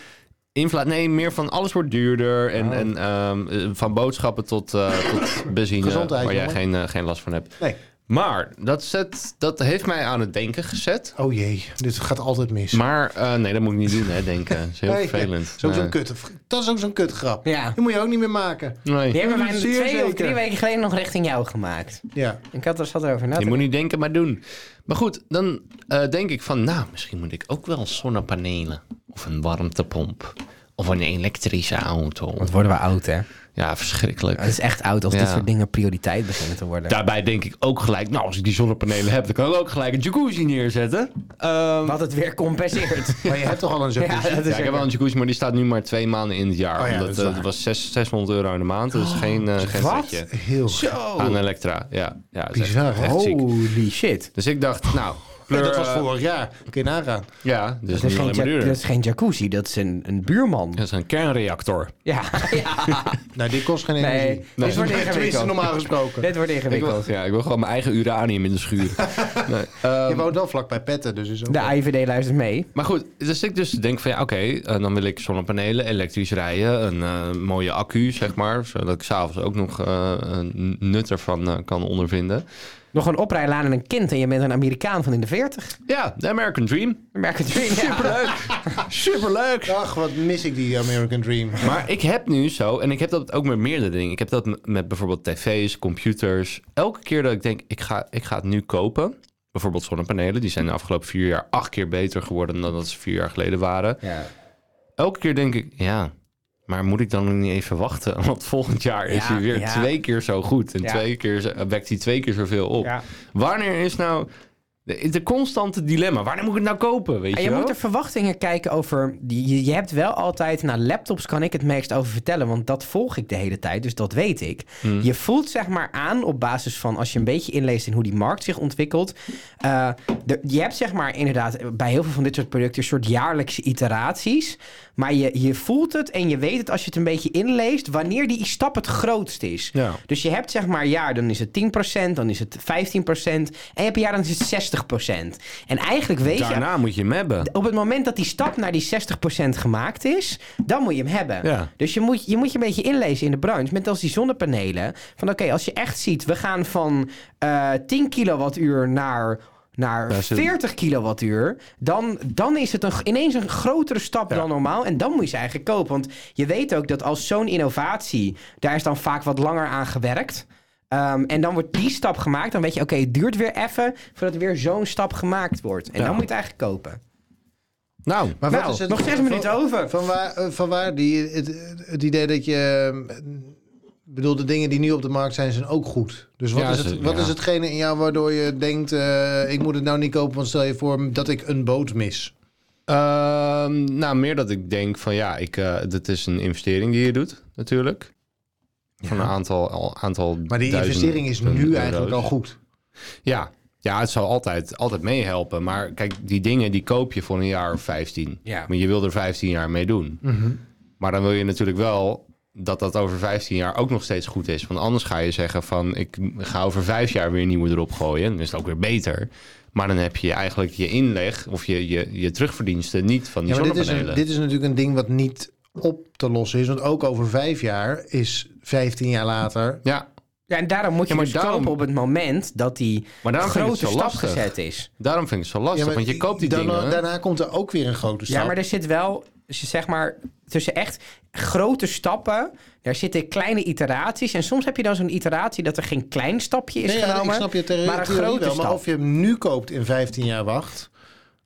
C: Infla- nee, meer van alles wordt duurder.
B: Oh.
C: En, en ehm, eh, van boodschappen tot, eh, tot benzine.
B: Gezondheid,
C: waar jij
B: jongen.
C: geen, eh, geen last van hebt.
B: Nee.
C: Maar dat, zet, dat heeft mij aan het denken gezet.
B: Oh jee, dit gaat altijd mis.
C: Maar eh, nee, dat moet ik niet doen, hè, denken. Dat is heel
B: Nee,
C: vervelend. eh.
B: dat is ook
C: Nee.
B: zo'n kut, dat is ook zo'n kutgrap.
A: Ja.
B: Die moet je ook niet meer maken.
C: Nee.
A: Die hebben wij
B: Zeer
A: twee of
B: zeker.
A: drie weken geleden nog richting jou gemaakt.
B: Ja.
A: Ik had er zat erover na te
C: Je moet niet denken, maar doen. Maar goed, dan eh, denk ik van, nou, misschien moet ik ook wel zonnepanelen. Of een warmtepomp. Of een elektrische auto.
A: Want worden we oud, hè?
C: Ja, verschrikkelijk.
A: Het is echt oud als
C: Ja.
A: dit soort dingen prioriteit beginnen te worden.
C: Daarbij denk ik ook gelijk, nou, als ik die zonnepanelen heb, dan kan ik ook gelijk een jacuzzi neerzetten. Ehm,
A: Wat het weer compenseert.
B: Maar je hebt toch al een
A: ja,
B: jacuzzi?
A: dat
C: ja,
A: is
C: ik heb wel een jacuzzi, maar die staat nu maar twee maanden in het jaar.
B: Oh ja,
C: omdat
B: dat is
C: eh,
B: waar. Oh,
C: het was zes- 600 euro in de maand, dus geen, eh, geen
A: wat?
C: setje.
B: Heel
A: Zo.
C: Aan elektra, ja. ja dat is echt-
B: Oh. bizar. Oh.
C: echt ziek.
A: Holy shit.
C: Dus ik dacht, nou, kleur...
B: dat was
C: eh,
B: vorig jaar. Kun je nagaan.
C: Ja, dus
A: Dat is,
C: niet
A: geen
C: alleen maar
A: ja-
C: duurder.
A: dat is geen jacuzzi, dat is een, een buurman.
C: Dat is een kernreactor.
A: Ja, ja.
B: Nou, die kost geen energie.
A: nee. Dit wordt
B: Tenminste,
A: ingewikkeld.
B: normaal gesproken.
A: Dit wordt
C: Ik wil,
A: ingewikkeld.
C: ja, ik wil gewoon mijn eigen uranium in de schuur. nee.
B: Je
C: ehm,
B: woont wel vlak bij Petten, dus is ook...
A: De IVD luistert mee.
C: maar goed, dus ik dus denk van ja, oké, eh, dan wil ik zonnepanelen, elektrisch rijden, een eh, mooie accu, zeg maar. Zodat ik s'avonds ook nog eh, een nut ervan eh, kan ondervinden.
A: Nog een oprijlaan en een kind en je bent een Amerikaan van in de 40.
C: Ja, de American Dream.
A: Dan merk je het weer. Ja.
C: Superleuk. Superleuk.
B: Ach, wat mis ik die American Dream.
C: Maar ik heb nu zo, en ik heb dat ook met meerdere dingen. Ik heb dat m- met bijvoorbeeld tv's, computers. Elke keer dat ik denk, ik ga, ik ga het nu kopen. Bijvoorbeeld zonnepanelen, die zijn de afgelopen vier jaar acht keer beter geworden dan dat ze vier jaar geleden waren.
A: Ja.
C: Elke keer denk ik, ja, maar moet ik dan nog niet even wachten? Want volgend jaar is
A: Ja,
C: hij weer
A: ja.
C: twee keer zo goed. En
A: Ja.
C: twee keer zo- wekt hij twee keer zoveel op.
A: Ja.
C: Wanneer is nou de, de constante dilemma? Wanneer moet ik het nou kopen? Weet
A: En
C: je,
A: je
C: wel?
A: moet er verwachtingen kijken over. die- Je, je hebt wel altijd. Nou, laptops kan ik het meest over vertellen. Want dat volg ik de hele tijd. Dus dat weet ik.
C: Hmm.
A: Je voelt zeg maar aan op basis van. Als je een beetje inleest in hoe die markt zich ontwikkelt. eh, de- je hebt zeg maar inderdaad eh, bij heel veel van dit soort producten. een soort jaarlijkse iteraties. Maar je, je voelt het en je weet het als je het een beetje inleest. wanneer die stap het grootst is.
C: Ja.
A: Dus je hebt zeg maar jaar, dan is het 10%, dan is het 15%. En je hebt een jaar, dan is het 60%. En eigenlijk weet je
C: Daarna moet je hem hebben.
A: op het moment dat die stap naar die 60% gemaakt is, dan moet je hem hebben.
C: Ja.
A: Dus je moet, je moet je een beetje inlezen in de branche. Met als die zonnepanelen. Van oké, als je echt ziet, we gaan van eh 10 kilowattuur naar, naar
C: Daar zit-
A: 40 kilowattuur. Dan, dan is het een, ineens een grotere stap dan normaal. En dan moet je ze eigenlijk kopen. Want je weet ook dat als zo'n innovatie, daar is dan vaak wat langer aan gewerkt. Ehm, en dan wordt die stap gemaakt. Dan weet je, oké, het duurt weer even voordat er weer zo'n stap gemaakt wordt. En
C: Ja.
A: dan moet je het eigenlijk kopen.
C: Nou,
B: Maar
A: Nou, nog zes minuten over.
B: Van waar, eh, van waar die, het, het idee dat je... eh, Ik bedoel, de dingen die nu op de markt zijn, zijn ook goed. Dus wat,
C: Ja,
B: is, het,
C: ze-
B: wat
C: ja.
B: is hetgene in jou waardoor je denkt... eh, ik moet het nou niet kopen, want stel je voor dat ik een boot mis.
C: Ehm, nou, meer dat ik denk van ja, ik, eh dat is een investering die je doet, natuurlijk. Van een aantal, al, aantal
B: Maar die
C: duizenden
B: investering is nu
C: euro's.
B: eigenlijk al goed.
C: Ja, ja het zal altijd, altijd meehelpen. Maar kijk, die dingen die koop je voor een jaar of 15.
A: Ja.
C: Maar je wil er 15 jaar mee doen.
B: Mhm.
C: Maar dan wil je natuurlijk wel dat dat over 15 jaar ook nog steeds goed is. Want anders ga je zeggen van ik ga over vijf jaar weer nieuwe erop gooien. Dan is het ook weer beter. Maar dan heb je eigenlijk je inleg of je, je, je terugverdiensten niet van die
B: Ja, maar dit is,
C: zonnepanelen.
B: een- dit is natuurlijk een ding wat niet op te lossen is. Want ook over vijf jaar is 15 jaar later...
C: Ja,
A: Ja, en daarom moet je
C: Ja, maar
A: dus
C: daarom-
A: kopen op het moment dat die
C: Maar daarom vind ik
A: grote
C: het
A: stap
C: zo lastig.
A: gezet is.
C: daarom vind ik het zo lastig.
B: Ja, maar
C: want je koopt die
B: daarna,
C: dingen.
B: Daarna komt er ook weer een grote stap.
A: Ja, maar er zit wel, dus je zeg maar, tussen echt grote stappen, daar zitten kleine iteraties. En soms heb je dan zo'n iteratie dat er geen klein stapje is
B: Nee, ja,
A: genomen.
B: ik snap je theorie,
A: maar een
B: theorie
A: grote
B: wel. Maar
A: stap.
B: of je hem nu koopt en 15 jaar wacht...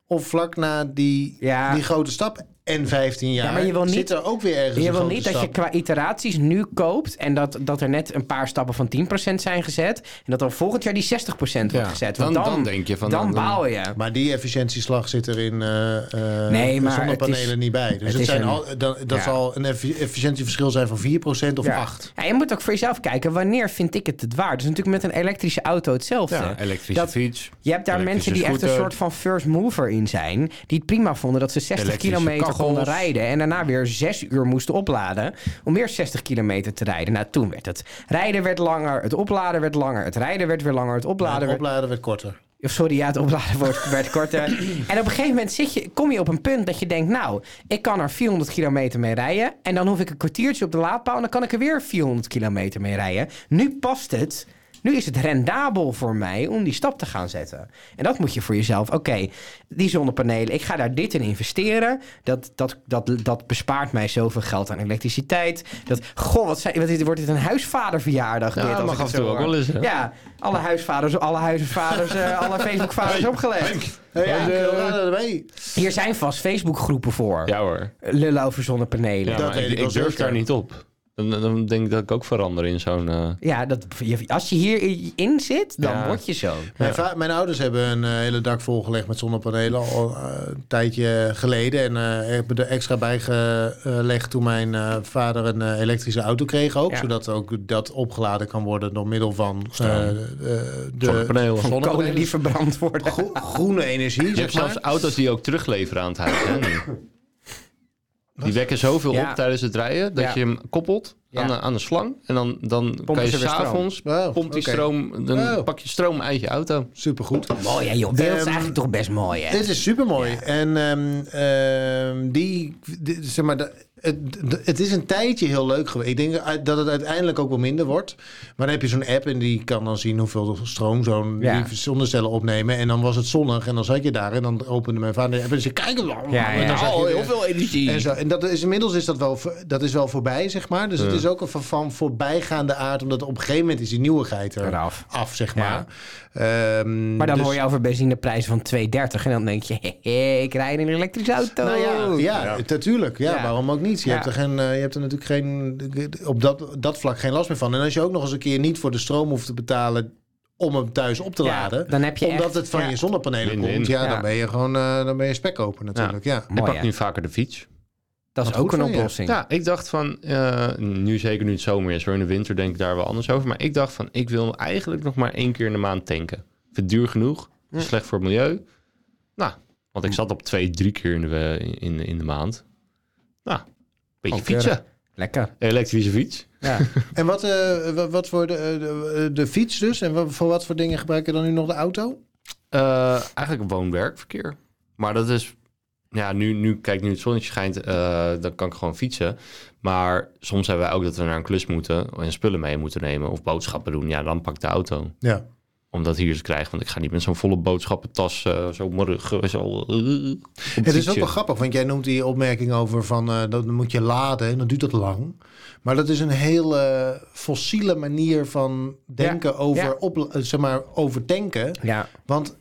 B: of vlak na die,
A: Ja.
B: die grote stap en 15 jaar...
A: Ja, maar je wil niet-
B: zit er ook weer ergens
A: Je
B: een
A: wil
B: grote
A: niet dat je
B: stap.
A: qua iteraties nu koopt en dat, dat er net een paar stappen van 10% zijn gezet. En dat dan volgend jaar die 60% wordt
C: Ja,
A: gezet.
C: dan-
A: Want dan,
C: dan denk je van,
A: nou, Dan
C: dan-
A: baal je.
B: Maar die efficiëntieslag zit er in eh, eh,
A: Nee, maar
B: zonnepanelen
A: het is-
B: niet bij. Dus
A: het
B: het
A: is
B: zijn
A: een-
B: al, dan, dat
A: ja.
B: zal een effi- efficiëntieverschil zijn van 4% of 8%.
A: Ja, je moet ook voor jezelf kijken, wanneer vind ik het het waard? Dus natuurlijk met een elektrische auto hetzelfde.
C: Ja, elektrische
A: Dat-
C: fiets.
A: Je hebt daar mensen die
C: elektrische
A: echt een
C: scooter.
A: soort van first mover in zijn. Die het prima vonden dat ze 60
C: Elektrische
A: kilometer
C: kachels.
A: konden rijden. En daarna weer 6 uur moesten opladen. Om weer 60 kilometer te rijden. Nou, toen werd het rijden werd langer. Het opladen werd langer. Het rijden werd weer langer. Het opladen werd...
B: Opladen werd korter.
A: Of Sorry, ja, het opladen wordt, werd korter. En op een gegeven moment zit je, kom je op een punt dat je denkt... nou, ik kan er 400 kilometer mee rijden... en dan hoef ik een kwartiertje op de laadpaal... en dan kan ik er weer 400 kilometer mee rijden. Nu past het. Nu is het rendabel voor mij om die stap te gaan zetten. En dat moet je voor jezelf... oké, die zonnepanelen, ik ga daar dit in investeren. Dat, dat, dat, dat bespaart mij zoveel geld aan elektriciteit. Dat, goh, wat, zijn, wat is- wordt dit een huisvaderverjaardag?
C: Ja,
A: dit, als
C: dat
A: ik
C: mag
A: het
C: af en
A: zo
C: toe ook
A: hoor.
C: wel eens, hè?
A: Ja, alle huisvaders, alle huizenvaders, eh, alle Facebookvaders opgelegd.
B: Hey,
C: Ja,
B: ja,
C: de-
B: Colorado erbij.
A: Hier zijn vast Facebookgroepen voor.
C: Ja hoor.
A: Lullen over zonnepanelen.
C: Ja,
B: Dat
C: maar
B: weet
C: ik,
B: ik wel
C: ik durf
B: zeker.
C: daar niet op. Dan, dan denk ik dat ik ook verander in zo'n... eh,
A: Ja, dat, je- als je hierin zit, dan
C: Ja.
A: word je zo.
B: Mijn, va- mijn ouders hebben een eh, hele dak volgelegd met zonnepanelen al eh, een tijdje geleden. En eh, hebben er extra bijgelegd toen mijn eh, vader een eh, elektrische auto kreeg ook.
A: Ja.
B: Zodat ook dat opgeladen kan worden door middel van eh, eh, de
C: zonnepanelen.
A: Van kolen die verbrand worden.
B: gro- groene energie.
C: Je
B: zeg
C: hebt
B: maar.
C: zelfs auto's die ook terugleveren aan het huis. Hè? Die wekken zoveel
A: Ja.
C: op tijdens het rijden dat
A: Ja.
C: je hem koppelt
A: Ja.
C: aan, de, aan de slang. En dan, dan kan je
A: ze weer stroom.
C: s'avonds,
B: Oh,
C: pompt die
B: oké.
C: stroom, dan
B: Oh.
C: pak je stroom uit je auto.
B: Supergoed.
A: Mooi hè, joh. Beeld is
B: Ehm,
A: eigenlijk toch best mooi hè.
B: Dit is super mooi. En ehm, ehm, die, di- zeg maar, de- het, de- het is een tijdje heel leuk geweest. Ik denk uit- dat het uiteindelijk ook wel minder wordt. Maar dan heb je zo'n app en die kan dan zien hoeveel stroom zo'n
A: Ja.
B: die zonnecellen opnemen. En dan was het zonnig en dan zat je daar en dan opende mijn vader de app en zei: Kijk,
A: Ja, ja.
B: En dan zag je
A: Oh,
B: de-
A: heel veel energie.
B: En, zo. en dat is, inmiddels is dat wel, v- dat is wel voorbij, zeg maar. Dus het is ook een van, van voorbijgaande aard, omdat op een gegeven moment is die nieuwigheid er
A: Eraf.
B: af, zeg
A: Ja.
B: maar. Ehm,
A: Maar dan
B: dus-
A: hoor je over benzineprijzen van 2,30 en dan denk je, hé, hé, ik rijd in een elektrische auto.
B: Nou ja, ja, natuurlijk. Ja,
A: Ja.
B: waarom ook niet? Je,
A: Ja.
B: hebt er geen, eh, je hebt er natuurlijk geen, op dat, dat vlak geen last meer van. En als je ook nog eens een keer niet voor de stroom hoeft te betalen om hem thuis op te
A: Ja,
B: laden,
A: dan heb je
B: omdat
A: echt-
B: het van
A: ja.
B: je zonnepanelen
C: Win-win.
B: komt, ja,
A: Ja.
B: dan ben je gewoon eh, dan ben je spekkoper natuurlijk. Ja.
C: Ik
A: Mooi,
C: pak
A: hè?
C: nu vaker de fiets.
A: Dat is
B: Wat
A: ook
B: goed
A: een
B: van je.
A: oplossing.
C: Ja, ik dacht van, eh, nu zeker nu het zomer is, hoor, in de winter denk ik daar wel anders over. Maar ik dacht van, ik wil eigenlijk nog maar één keer in de maand tanken. Ik vind het duur genoeg, slecht voor het milieu. Nou, want ik zat op twee, drie keer in de, we- in, in de maand. Nou, een beetje
A: Oh, keurig.
C: fietsen.
A: Lekker.
C: Elektrische fiets.
A: Ja.
B: En wat, eh, wa- wat voor de, eh, de, de fiets dus? En wa- voor wat voor dingen gebruik je dan nu nog de auto?
C: Eh, eigenlijk woon-werkverkeer. Maar dat is... Ja, nu, nu, kijk, nu het zonnetje schijnt, eh, dan kan ik gewoon fietsen. Maar soms hebben wij ook dat we naar een klus moeten en spullen mee moeten nemen of boodschappen doen. Ja, dan pak ik de auto.
B: Ja.
C: om dat hier te krijgen. Want ik ga niet met zo'n volle boodschappentas, eh, zo morgen, zo... eh, op
B: Het is ook
C: fietsje.
B: wel grappig, want jij noemt die opmerking over van eh, dat moet je laden en dan duurt dat lang. Maar dat is een hele fossiele manier van denken over,
A: ja.
B: op, eh, zeg maar, over tanken.
A: ja.
B: Want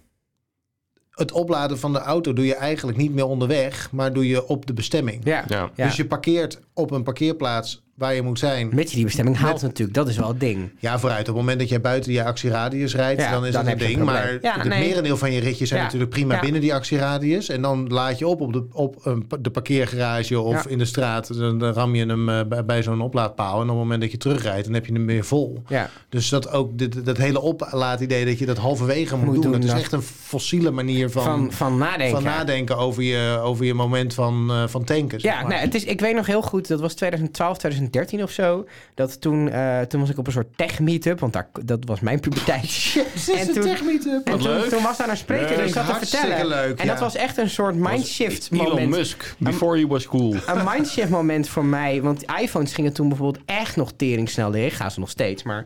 B: het opladen van de auto doe je eigenlijk niet meer onderweg, maar doe je op de bestemming.
A: Ja.
C: Ja.
A: Ja.
B: Dus je parkeert op een parkeerplaats waar je moet zijn.
A: Met je die bestemming haalt
B: Met-
A: natuurlijk, dat is wel het ding.
B: Ja, vooruit. Op het moment dat jij buiten je actieradius rijdt,
A: Ja,
B: dan is
A: dan
B: dat
A: heb
B: een
A: je een
B: ding.
A: probleem.
B: maar
A: Ja,
B: het
A: nee.
B: merendeel van je ritjes zijn
A: Ja,
B: natuurlijk prima
A: ja.
B: binnen die actieradius. En dan laad je op op de, op een, pa- de parkeergarage of
A: Ja.
B: in de straat. Dan, dan ram je hem eh, bij, bij zo'n oplaadpaal. En op het moment dat je terugrijdt, dan heb je hem weer vol.
A: Ja.
B: Dus dat ook dit, dat hele oplaadidee dat je dat halverwege moet,
A: Moet
B: doen.
A: doen,
B: dat is
A: dat-
B: echt een fossiele manier van,
A: Van,
B: van,
A: van nadenken.
B: nadenken over je, over je moment van, eh, van tanken. zeg
A: Ja,
B: maar.
A: nee, het is, ik weet nog heel goed, dat was 2012, 2013 of zo. Dat toen, eh, toen was ik op een soort tech-meetup, want daar, dat was mijn puberteit.
B: Jezus,
A: En
B: een
A: toen-
B: techmeetup.
A: En toen,
C: leuk.
A: toen was daar een spreker die
B: Leuk,
A: zat te
B: hartstikke
A: vertellen.
B: leuk,
A: en dat
B: ja.
A: was echt een soort mindshift
C: Elon
A: moment.
C: Musk, before you was cool.
A: een mindshift moment voor mij. Want iPhones gingen toen bijvoorbeeld echt nog tering snel leeg. Gaan ze nog steeds, maar...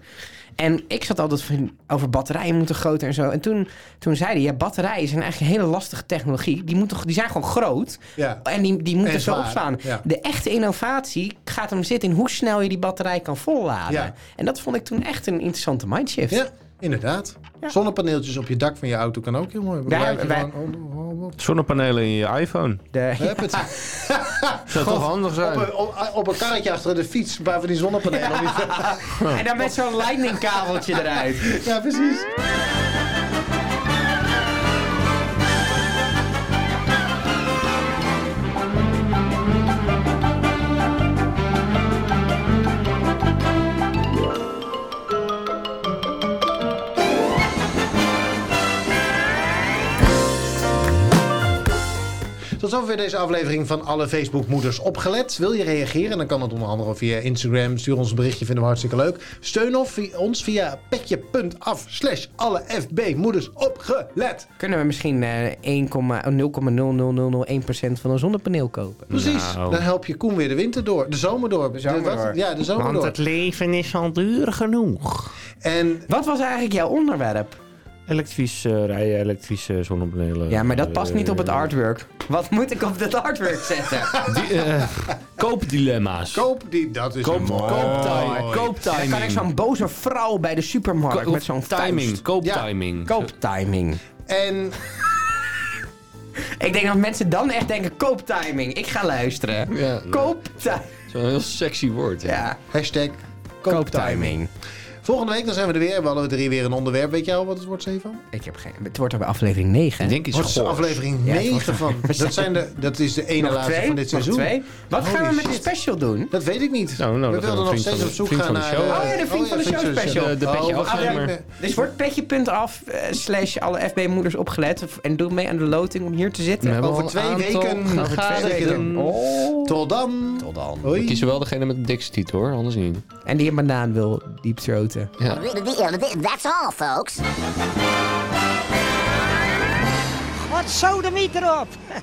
A: En ik zat altijd van, over batterijen moeten groter en zo. En toen, toen zei hij, ja, batterijen zijn eigenlijk een hele lastige technologie. Die, moet toch, die zijn gewoon groot.
B: Ja.
A: En die, die moeten
B: En
A: zo
B: zwaar,
A: opslaan.
B: ja.
A: De echte innovatie gaat hem zitten in hoe snel je die batterij kan volladen.
B: Ja.
A: En dat vond ik toen echt een interessante mindshift.
B: Ja, inderdaad. Zonnepaneeltjes op je dak van je auto kan ook heel mooi.
A: Ja,
B: Laat je
A: wij-
B: gewoon- oh, oh, oh,
C: Zonnepanelen in je iPhone.
A: De,
B: Hup, het-
C: Zou toch handig
B: op,
C: zijn?
B: een, op, op een karretje achter de fiets, waar we die zonnepanelen op je-
A: En dan met zo'n lightningkabeltje eruit.
B: Ja, precies. Tot zover deze aflevering van alle Facebookmoeders opgelet. Wil je reageren? Dan kan dat onder andere via Instagram. Stuur ons een berichtje, vinden we hartstikke leuk. Steun of vi- ons via petje.af slash alle FB moeders opgelet.
A: Kunnen we misschien eh, 1,0,00001% van een zonnepaneel kopen?
B: Precies,
C: Nou.
B: dan help je Koen weer de winter door. De zomer door. De
A: zomer
B: wat?
A: door.
B: Ja, de zomer door.
C: leven is al duur genoeg.
B: En
A: Wat was eigenlijk jouw onderwerp?
C: Elektrisch eh, rijden, elektrische zonnepanelen. eh,
A: Ja, maar dat past niet op het artwork. Wat moet ik op dat artwork zetten?
C: eh, koopdilemma's.
B: koop die, dat is
C: Koop-
B: mooi.
C: kooptij-
A: Dan kan ik
C: Kooptiming.
A: zo'n boze vrouw bij de supermarkt met zo'n
C: timing.
A: vuist.
C: Kooptiming.
A: Kooptiming.
B: En
A: Ik denk dat mensen dan echt denken, kooptiming. Ik ga luisteren.
C: Ja.
A: Kooptiming.
C: Een heel sexy woord. hè.
A: Ja.
B: Hashtag kooptiming.
A: Kooptiming.
B: Volgende week dan zijn we er weer. We hadden drie weer een onderwerp. Weet jij al wat het wordt, Stefan?
A: Ik heb geen... Het wordt al bij aflevering 9.
C: Ik denk iets
B: Wordt
C: goors.
B: aflevering
A: Ja, het
B: 9
A: wordt-
B: van. Dat, zijn de, dat is de ene
A: Nog
B: laatste
A: twee?
B: van dit
A: Nog
B: seizoen.
A: twee? Wat
B: Holy
A: gaan we met de
B: shit.
A: special doen?
B: Dat weet ik niet.
C: Nou, nou,
B: we
C: dat
B: wilden
C: hebben we
B: nog
C: vriend
B: steeds
C: van
B: op
C: de-
B: zoek
C: vriend
B: gaan
C: van de
B: naar...
C: show.
B: eh,
A: Oh ja, de vriend van de show special.
C: De- de petje
B: Oh, we gaan
C: afnemer.
B: niet meer-
A: Dus wordt petje.af eh, slash alle FB-moeders opgelet of- en doe mee aan de loting om hier te
C: We
A: zitten.
C: hebben
B: Over
C: al
B: twee
C: een aantal
B: weken
A: Over twee
C: gehad.
B: vergadering.
A: weken. Oh.
B: Tot dan.
A: Tot dan.
B: Hoi.
C: We kiezen wel degene met de dikste titel hoor, anders niet.
A: En die een banaan wil diepthroten.
E: That's all, folks.
F: Wat zo de meter op?